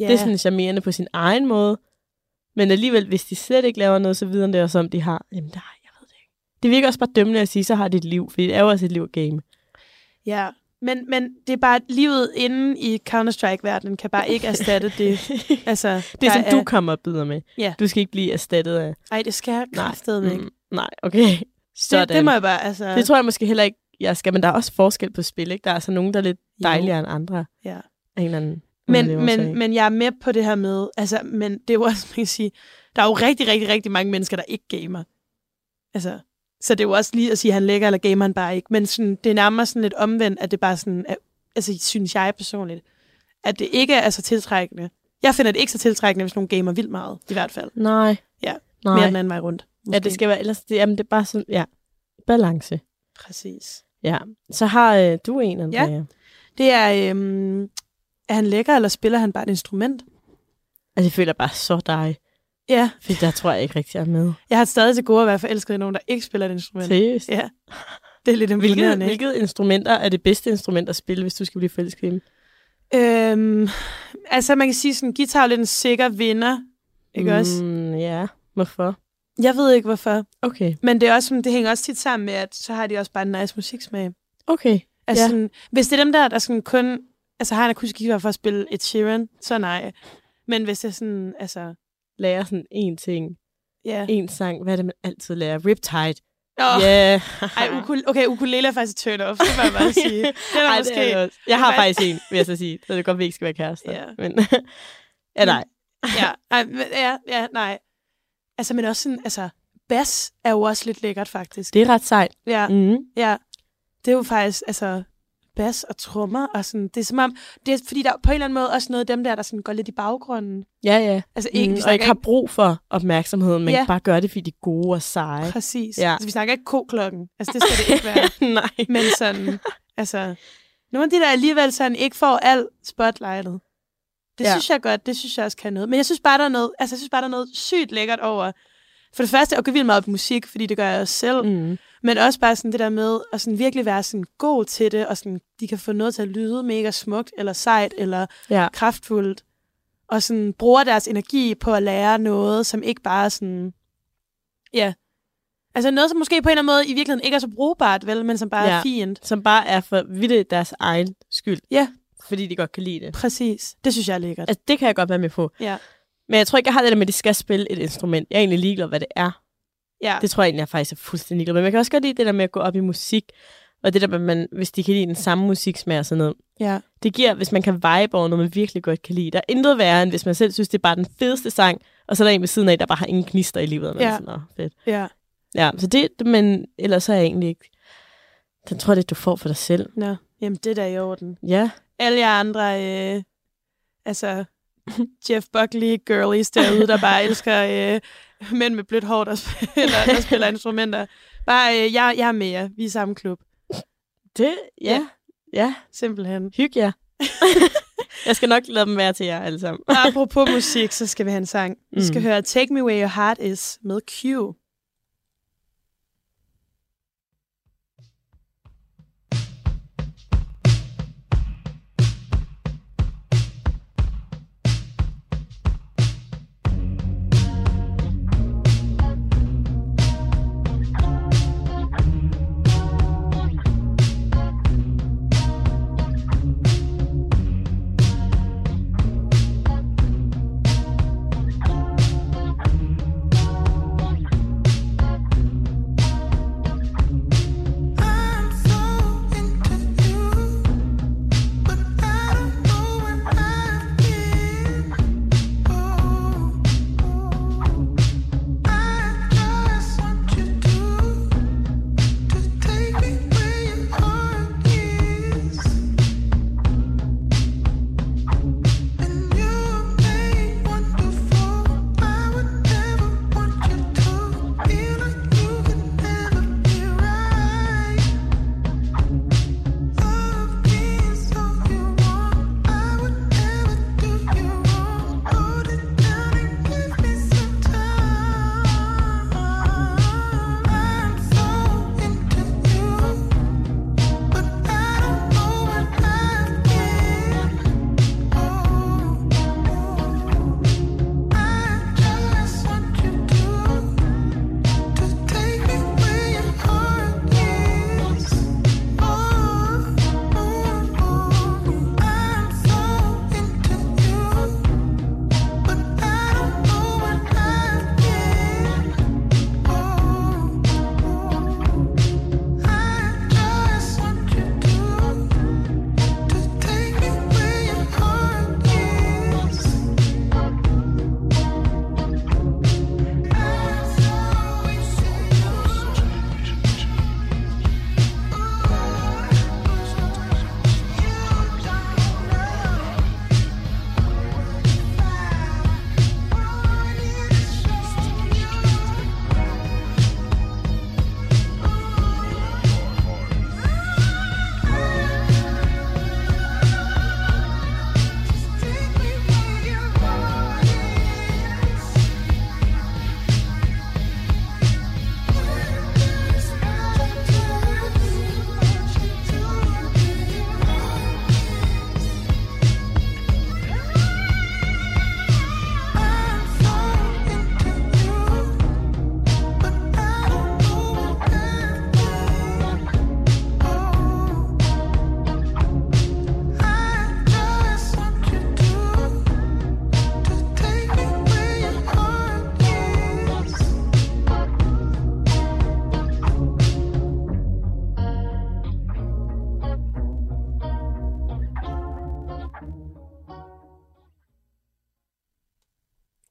[SPEAKER 3] ja.
[SPEAKER 4] Det er sådan charmerende på sin egen måde. Men alligevel, hvis de slet ikke laver noget, så videre det også om, de har... Jamen nej, jeg ved det ikke. Det virker også bare dømmende at sige, så har de et liv, for det er jo også et liv at game.
[SPEAKER 3] ja. Men, men det er bare, at livet inde i Counter-Strike-verdenen kan bare ikke erstatte det. Altså,
[SPEAKER 4] det er,
[SPEAKER 3] der
[SPEAKER 4] som du kommer og byder med.
[SPEAKER 3] Ja.
[SPEAKER 4] Du skal ikke blive erstattet af...
[SPEAKER 3] Ej, det skal jeg kraftedeme ikke.
[SPEAKER 4] Mm, nej, okay. Sådan.
[SPEAKER 3] Det, det må jeg bare, altså...
[SPEAKER 4] det tror jeg måske heller ikke, jeg skal, men der er også forskel på spil, ikke? Der er altså nogen, der er lidt dejligere end andre.
[SPEAKER 3] Ja.
[SPEAKER 4] Af en eller anden
[SPEAKER 3] Men,
[SPEAKER 4] underlig årsag.
[SPEAKER 3] men, men jeg er med på det her med, altså, men det er jo også, man kan sige, der er jo rigtig, rigtig, rigtig mange mennesker, der ikke gamer. Altså, så det er jo også lige at sige, at han lægger, eller gamer han bare ikke. Men sådan, det er nærmere sådan lidt omvendt, at det bare sådan, er, altså synes jeg personligt, at det ikke er så tiltrækkende. Jeg finder det ikke så tiltrækkende, hvis nogen gamer vildt meget, i hvert fald.
[SPEAKER 4] Nej.
[SPEAKER 3] Ja,
[SPEAKER 4] Nej.
[SPEAKER 3] Mere den anden vej rundt. Måske.
[SPEAKER 4] ja, det skal være... Ellers, det, jamen, det er bare sådan... Ja. Balance.
[SPEAKER 3] Præcis.
[SPEAKER 4] Ja, så har øh, du en, Andrea. Ja.
[SPEAKER 3] Det er, øhm, er han lækker, eller spiller han bare et instrument?
[SPEAKER 4] Altså, jeg føler bare så dig,
[SPEAKER 3] Ja,
[SPEAKER 4] for der tror jeg ikke rigtig, jeg er med.
[SPEAKER 3] jeg har stadig til gode at være forelsket i nogen, der ikke spiller et instrument.
[SPEAKER 4] Seriøst?
[SPEAKER 3] Ja, det er lidt
[SPEAKER 4] Hvilket,
[SPEAKER 3] imponerende. ikke?
[SPEAKER 4] hvilket instrumenter er det bedste instrument at spille, hvis du skal blive fælles kvinde?
[SPEAKER 3] Øhm, altså, man kan sige, sådan guitar er jo lidt en sikker vinder, ikke mm. også?
[SPEAKER 4] Mm, ja, hvorfor?
[SPEAKER 3] Jeg ved ikke, hvorfor.
[SPEAKER 4] Okay.
[SPEAKER 3] Men det, er også, sådan- det hænger også tit sammen med, at så har de også bare en nice musiksmag.
[SPEAKER 4] Okay.
[SPEAKER 3] Altså,
[SPEAKER 4] Ja.
[SPEAKER 3] ja. sådan, hvis det er dem der, der sådan kun altså, har en akustisk guitar for at spille et Sheeran, så nej. Men hvis det er sådan, altså...
[SPEAKER 4] Lærer sådan en ting,
[SPEAKER 3] Ja.
[SPEAKER 4] en sang, hvad er det, man altid lærer? Riptide.
[SPEAKER 3] Oh, yeah.
[SPEAKER 4] Ja.
[SPEAKER 3] Ej, ukule, okay, ukulele er faktisk turn off, det må jeg bare sige. Det er der
[SPEAKER 4] Ej,
[SPEAKER 3] måske...
[SPEAKER 4] det er det også. Jeg har
[SPEAKER 3] Hvad?
[SPEAKER 4] faktisk en, vil jeg så sige. Så det er godt, vi ikke skal være kærester.
[SPEAKER 3] Ja.
[SPEAKER 4] Men, ja, nej.
[SPEAKER 3] Ja, ej, men, ja, ja, nej. Altså, men også sådan, altså, bas er jo også lidt lækkert, faktisk.
[SPEAKER 4] Det er ret sejt.
[SPEAKER 3] Ja,
[SPEAKER 4] Mm.
[SPEAKER 3] ja. Det er jo faktisk, altså, bas og trommer og sådan, det er som om, det er, fordi der er på en eller anden måde også noget af dem der, der sådan går lidt i baggrunden.
[SPEAKER 4] Ja, ja.
[SPEAKER 3] Altså, ikke,
[SPEAKER 4] Mm,
[SPEAKER 3] mm,
[SPEAKER 4] og ikke har brug for opmærksomheden, men
[SPEAKER 3] Ja.
[SPEAKER 4] ja. bare gør det, fordi de er gode og seje.
[SPEAKER 3] Præcis.
[SPEAKER 4] Ja.
[SPEAKER 3] Ja. Altså, vi snakker ikke koklokken. Altså, det skal det ikke være.
[SPEAKER 4] Nej.
[SPEAKER 3] Men sådan, altså... Nogle af de, der alligevel sådan ikke får alt spotlightet. Det
[SPEAKER 4] Ja.
[SPEAKER 3] ja. synes jeg godt, det synes jeg også kan noget. Men jeg synes bare, der er noget, altså, jeg synes bare, der er noget sygt lækkert over. For det første, at gå vildt meget op i musik, fordi det gør jeg også selv. Mm.
[SPEAKER 4] Mm.
[SPEAKER 3] Men også bare sådan det der med at sådan virkelig være sådan god til det, og sådan, de kan få noget til at lyde mega smukt, eller sejt, eller
[SPEAKER 4] Ja.
[SPEAKER 3] kraftfuldt, og sådan bruger deres energi på at lære noget, som ikke bare er sådan, ja, altså noget, som måske på en eller anden måde i virkeligheden ikke er så brugbart, vel, men som bare ja.
[SPEAKER 4] Ja.
[SPEAKER 3] er fint.
[SPEAKER 4] Som bare er for vidt deres egen skyld.
[SPEAKER 3] Ja.
[SPEAKER 4] Fordi de godt kan lide det.
[SPEAKER 3] Præcis. Det synes jeg er lækkert.
[SPEAKER 4] Altså, det kan jeg godt være med på.
[SPEAKER 3] Ja.
[SPEAKER 4] Men jeg tror ikke, jeg har det der med, at de skal spille et instrument. Jeg er egentlig ligeglad, hvad det er.
[SPEAKER 3] Ja,
[SPEAKER 4] Det tror jeg egentlig, jeg faktisk er fuldstændig ligeglad med. Men jeg kan også godt lide det der med at gå op i musik. Og det der med, at man, hvis de kan lide den samme musiksmag og sådan noget.
[SPEAKER 3] ja,
[SPEAKER 4] Det giver, hvis man kan vibe over noget, man virkelig godt kan lide. Der er intet værre, end hvis man selv synes, det er bare den fedeste sang. Og så er der en ved siden af, der bare har ingen gnister i livet. Og man
[SPEAKER 3] Ja.
[SPEAKER 4] er sådan, "Nå, fedt.
[SPEAKER 3] ja.
[SPEAKER 4] Ja, så det, men ellers så er jeg egentlig ikke... Den tror jeg lidt, du får for dig selv.
[SPEAKER 3] Nå, jamen det der er da i orden.
[SPEAKER 4] Ja.
[SPEAKER 3] Alle jer andre, øh, altså Jeff Buckley girlies derude, der bare elsker øh, mænd med blødt hår, der spiller, der spiller instrumenter. Bare, øh, jeg, jeg er med jer. Vi er i samme klub.
[SPEAKER 4] Det, ja.
[SPEAKER 3] ja.
[SPEAKER 4] Ja,
[SPEAKER 3] Simpelthen.
[SPEAKER 4] hyg jer. jeg skal nok lade dem være til jer alle sammen.
[SPEAKER 3] Og apropos musik, så skal vi have en sang. Vi skal
[SPEAKER 4] Mm.
[SPEAKER 3] mm. høre Take Me Where Your Heart Is med Q.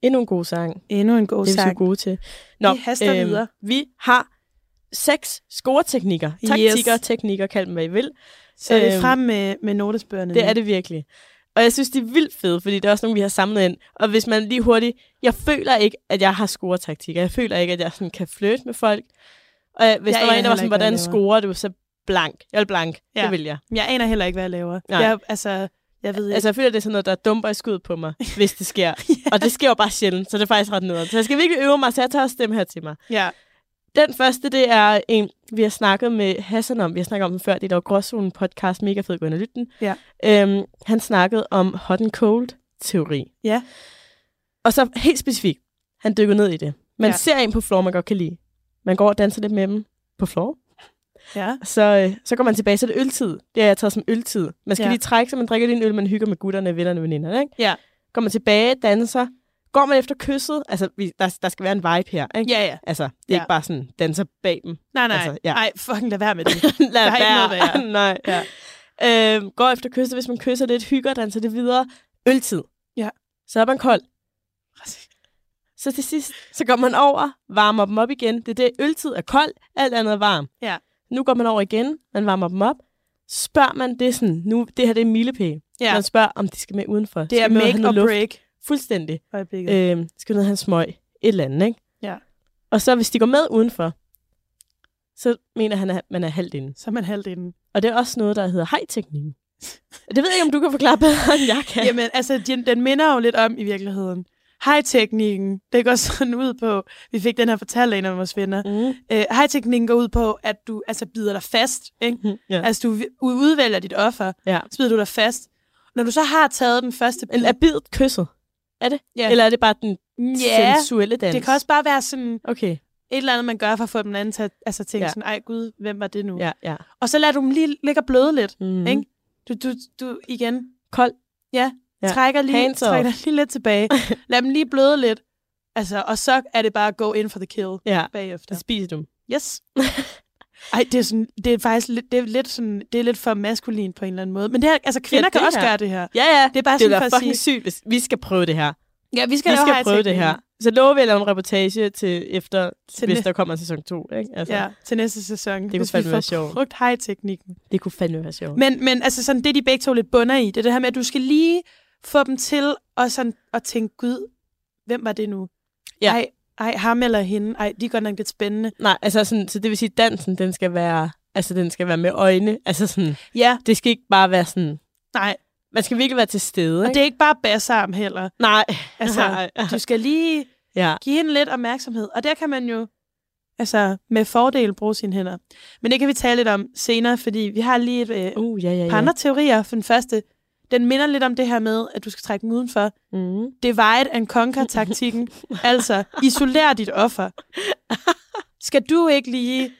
[SPEAKER 4] Endnu en god sang.
[SPEAKER 3] Endnu en god
[SPEAKER 4] det er vi så
[SPEAKER 3] sang.
[SPEAKER 4] gode til. øhm,
[SPEAKER 3] Vi haster videre.
[SPEAKER 4] Vi har seks scoreteknikker.
[SPEAKER 3] Yes.
[SPEAKER 4] Taktikker, yes. teknikker, kald dem hvad I vil.
[SPEAKER 3] Så er det
[SPEAKER 4] Øhm,
[SPEAKER 3] frem med, med notesbøgerne.
[SPEAKER 4] Det
[SPEAKER 3] nu.
[SPEAKER 4] er det virkelig. Og jeg synes, de er vildt fede, fordi der er også nogle, vi har samlet ind. Og hvis man lige hurtigt... Jeg føler ikke, at jeg har scoretaktikker. Jeg føler ikke, at jeg sådan kan flytte med folk. Og jeg- hvis
[SPEAKER 3] Jeg
[SPEAKER 4] jeg der var
[SPEAKER 3] aner
[SPEAKER 4] en, der
[SPEAKER 3] heller
[SPEAKER 4] var sådan,
[SPEAKER 3] ikke, hvad
[SPEAKER 4] hvordan
[SPEAKER 3] jeg laver."
[SPEAKER 4] scorer du? Så blank. Jeg vil blank. Ja.
[SPEAKER 3] Ja.
[SPEAKER 4] Det vil jeg.
[SPEAKER 3] Jeg aner heller ikke, hvad jeg laver.
[SPEAKER 4] Nej.
[SPEAKER 3] Jeg, altså, jeg ved
[SPEAKER 4] Altså,
[SPEAKER 3] ikke.
[SPEAKER 4] jeg føler, det er sådan noget, der dumper i skud på mig, hvis det sker. ja. Og det sker jo bare sjældent, så det er faktisk ret nederen. Så jeg skal virkelig øve mig, så jeg tager også dem her til mig.
[SPEAKER 3] Ja.
[SPEAKER 4] Den første, det er en, vi har snakket med Hassan om. Vi har snakket om den før, det er dog Gråzonen podcast, mega fed, gå ind og lyt den.
[SPEAKER 3] Ja.
[SPEAKER 4] Øhm, han snakkede om hot and cold teori.
[SPEAKER 3] Ja.
[SPEAKER 4] Og så helt specifikt, han dykker ned i det. Man
[SPEAKER 3] Ja.
[SPEAKER 4] ser en på floor, man godt kan lide. Man går og danser lidt med dem på floor.
[SPEAKER 3] ja.
[SPEAKER 4] Så, øh, så går man tilbage, så er det øltid. Det har jeg taget som øltid. Man skal ja.
[SPEAKER 3] Ja.
[SPEAKER 4] lige trække, så man drikker lige en øl, man hygger med gutterne, vennerne, veninderne. Ikke?
[SPEAKER 3] Ja.
[SPEAKER 4] Går man tilbage, danser. Går man efter kysset, altså vi, der, der skal være en vibe her. Ikke?
[SPEAKER 3] Ja, ja.
[SPEAKER 4] Altså, det er
[SPEAKER 3] Ja.
[SPEAKER 4] ikke bare sådan, danser bag dem.
[SPEAKER 3] Nej, nej.
[SPEAKER 4] Altså,
[SPEAKER 3] Altså,
[SPEAKER 4] ja.
[SPEAKER 3] ja. Ej, fucking lad være med det.
[SPEAKER 4] Lad
[SPEAKER 3] Der er ikke noget værre.
[SPEAKER 4] Nej.
[SPEAKER 3] Ja.
[SPEAKER 4] Øhm, går efter kysset, hvis man kysser lidt, hygger, danser det videre. Øltid.
[SPEAKER 3] Ja.
[SPEAKER 4] Så er man kold. Så til sidst, så går man over, varmer dem op igen. Det er det, øltid er kold, alt andet er varm.
[SPEAKER 3] Ja.
[SPEAKER 4] Nu går man over igen, man varmer dem op. Spørger man, det er sådan, nu, det her det er en milepæl.
[SPEAKER 3] Ja.
[SPEAKER 4] Man spørger, om de skal med udenfor.
[SPEAKER 3] Det er
[SPEAKER 4] skal vi ned og have
[SPEAKER 3] make
[SPEAKER 4] noget
[SPEAKER 3] or
[SPEAKER 4] luft?
[SPEAKER 3] break.
[SPEAKER 4] Fuldstændig.
[SPEAKER 3] Øjeblikket.
[SPEAKER 4] Øhm, skal vi ned og have en smøg. Et eller andet, ikke?
[SPEAKER 3] Ja.
[SPEAKER 4] Og så hvis de går med udenfor, så mener han, at man er halvt inde.
[SPEAKER 3] Så er man halvt inden.
[SPEAKER 4] Og det er også noget, der hedder hej-teknikken. Det ved jeg ikke, om du kan forklare bedre, end jeg kan.
[SPEAKER 3] Ja. Jamen, altså, den, den minder jo lidt om i virkeligheden. High-teknikken, det går sådan ud på, vi fik den her fortalt af en af vores venner.
[SPEAKER 4] Mm.
[SPEAKER 3] Øh, high-teknikken går ud på, at du altså, bider dig fast. Ikke?
[SPEAKER 4] Mm-hmm. Ja.
[SPEAKER 3] Altså, du vi- udvælger dit offer,
[SPEAKER 4] Ja.
[SPEAKER 3] så bider du dig fast. Når du så har taget den første bid,
[SPEAKER 4] Men er bidet kysset? Er det?
[SPEAKER 3] Ja.
[SPEAKER 4] Eller er det bare den
[SPEAKER 3] ja,
[SPEAKER 4] sensuelle dans?
[SPEAKER 3] det kan også bare være sådan
[SPEAKER 4] Okay,
[SPEAKER 3] et eller andet, man gør for at få den anden til at altså, tænke
[SPEAKER 4] Ja.
[SPEAKER 3] ja. sådan, ej gud, hvem var det nu?
[SPEAKER 4] ja, ja.
[SPEAKER 3] Og så lader du dem lige ligge og bløde lidt.
[SPEAKER 4] Mm.
[SPEAKER 3] Ikke? Du, du, du igen
[SPEAKER 4] Kold. Ja.
[SPEAKER 3] ja. trækker, lige,
[SPEAKER 4] Hands off.
[SPEAKER 3] trækker dig lige lidt tilbage. Lad dem lige bløde lidt. Altså, og så er det bare at gå ind for the kill
[SPEAKER 4] Ja,
[SPEAKER 3] bagefter.
[SPEAKER 4] så spiser du.
[SPEAKER 3] Yes. Altså, Ej, det er, sådan, det er faktisk lidt, det er lidt, sådan, det er lidt for maskulin på en eller anden måde. Men det her, altså, kvinder ja,
[SPEAKER 4] det
[SPEAKER 3] det kan også
[SPEAKER 4] her.
[SPEAKER 3] gøre det her.
[SPEAKER 4] Ja, ja.
[SPEAKER 3] Det er bare
[SPEAKER 4] Det
[SPEAKER 3] sådan
[SPEAKER 4] er
[SPEAKER 3] for at
[SPEAKER 4] fucking
[SPEAKER 3] sige,
[SPEAKER 4] sygt, hvis vi skal prøve det her.
[SPEAKER 3] ja, vi skal,
[SPEAKER 4] vi
[SPEAKER 3] lave
[SPEAKER 4] skal
[SPEAKER 3] high
[SPEAKER 4] prøve det her.
[SPEAKER 3] technique.
[SPEAKER 4] Så lover vi at lave en reportage til efter,
[SPEAKER 3] Til
[SPEAKER 4] til hvis
[SPEAKER 3] næ-
[SPEAKER 4] der kommer sæson 2. Ikke? Altså,
[SPEAKER 3] Ja, til næste sæson.
[SPEAKER 4] kunne
[SPEAKER 3] hvis vi
[SPEAKER 4] fandme være
[SPEAKER 3] får
[SPEAKER 4] sjovt.
[SPEAKER 3] brugt high-teknikken.
[SPEAKER 4] Det kunne fandme være sjovt.
[SPEAKER 3] Men, men altså sådan, det de begge to lidt bunder i, det er det her med, at du skal lige få dem til at, sådan, at tænke, gud, hvem var det nu?
[SPEAKER 4] Ja.
[SPEAKER 3] Ej, ej, ham eller hende, ej, de er godt nok lidt spændende.
[SPEAKER 4] Nej, altså sådan, så det vil sige, at dansen, den skal være, altså, den skal være med øjne. Altså sådan,
[SPEAKER 3] Ja,
[SPEAKER 4] det skal ikke bare være sådan,
[SPEAKER 3] nej,
[SPEAKER 4] man skal virkelig være til stede.
[SPEAKER 3] og det er ikke bare bassarm heller.
[SPEAKER 4] Nej.
[SPEAKER 3] Altså, du skal lige
[SPEAKER 4] ja.
[SPEAKER 3] give hende lidt opmærksomhed, og der kan man jo altså, med fordel bruge sine hænder. Men det kan vi tale lidt om senere, fordi vi har lige et øh,
[SPEAKER 4] Uh, ja, ja, ja.
[SPEAKER 3] par andre teorier. For den første, den minder lidt om det her med, at du skal trække dem udenfor.
[SPEAKER 4] Mm.
[SPEAKER 3] divide and conquer-taktikken. altså, isolér dit offer. Skal du ikke lige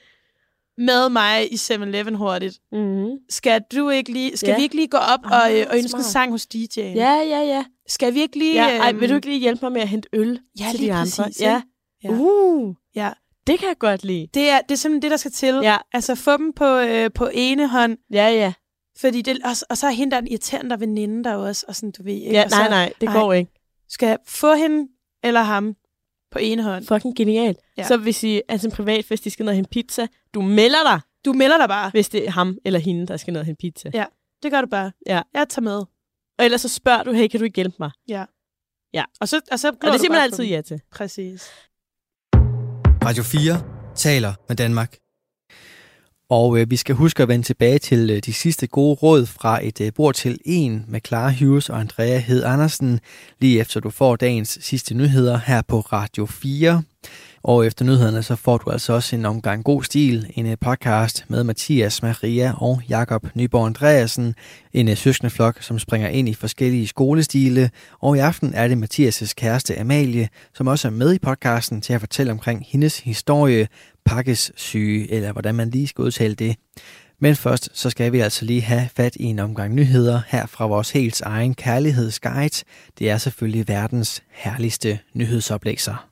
[SPEAKER 3] med mig i 7-Eleven hurtigt?
[SPEAKER 4] Mm.
[SPEAKER 3] Skal, du ikke lige, skal
[SPEAKER 4] Ja.
[SPEAKER 3] ja. vi ikke lige gå op
[SPEAKER 4] Ah,
[SPEAKER 3] og, øh, og ønske en
[SPEAKER 4] smart.
[SPEAKER 3] sang hos DJ'en?
[SPEAKER 4] Ja, ja, ja.
[SPEAKER 3] Skal vi ikke lige...
[SPEAKER 4] ja. Ej,
[SPEAKER 3] øhm,
[SPEAKER 4] vil du ikke lige hjælpe mig med at hente øl
[SPEAKER 3] Ja,
[SPEAKER 4] til
[SPEAKER 3] lige
[SPEAKER 4] de andre?
[SPEAKER 3] præcis,
[SPEAKER 4] ja.
[SPEAKER 3] Ja.
[SPEAKER 4] Uh,
[SPEAKER 3] Ja.
[SPEAKER 4] det kan jeg godt lide.
[SPEAKER 3] Det er, det er simpelthen det, der skal til.
[SPEAKER 4] Ja.
[SPEAKER 3] Altså, få dem på, øh, på ene hånd,
[SPEAKER 4] Ja, ja.
[SPEAKER 3] fordi det, og, og så er hende der en irriterende der er veninde der også, og sådan, du ved, ikke?
[SPEAKER 4] ja
[SPEAKER 3] og så
[SPEAKER 4] nej, nej, det
[SPEAKER 3] ej.
[SPEAKER 4] går ikke.
[SPEAKER 3] skal få hende eller ham på ene hånd.
[SPEAKER 4] Fucking genialt.
[SPEAKER 3] Ja.
[SPEAKER 4] Så hvis I er til en privatfest, de skal ned og hente pizza, du melder dig,
[SPEAKER 3] Du melder dig bare.
[SPEAKER 4] hvis det er ham eller hende, der skal ned og hente pizza.
[SPEAKER 3] Ja. Det gør du bare.
[SPEAKER 4] Ja.
[SPEAKER 3] Jeg tager med.
[SPEAKER 4] Og ellers så spørger du, hey, kan du ikke hjælpe mig?
[SPEAKER 3] Og så, og så
[SPEAKER 4] Og det siger man
[SPEAKER 3] simpelthen
[SPEAKER 4] altid ja til.
[SPEAKER 3] Præcis.
[SPEAKER 1] Radio 4 taler med Danmark. Og øh, vi skal huske at vende tilbage til øh, de sidste gode råd fra et øh, bord til en med Clara Hughes og Andrea Hed Andersen, lige efter du får dagens sidste nyheder her på Radio 4. Og efter nyhederne, så får du altså også en omgang god stil, en øh, podcast med Mathias, Maria og Jakob Nyborg Andreasen, en øh, søskendeflok, som springer ind i forskellige skolestile, og i aften er det Mathias' kæreste Amalie, som også er med i podcasten til at fortælle omkring hendes historie, pakkes syge, eller hvordan man lige skal udtale det. Men først så skal vi altså lige have fat i en omgang nyheder her fra vores helt egen kærlighedsguide. Det er selvfølgelig verdens herligste nyhedsoplæser.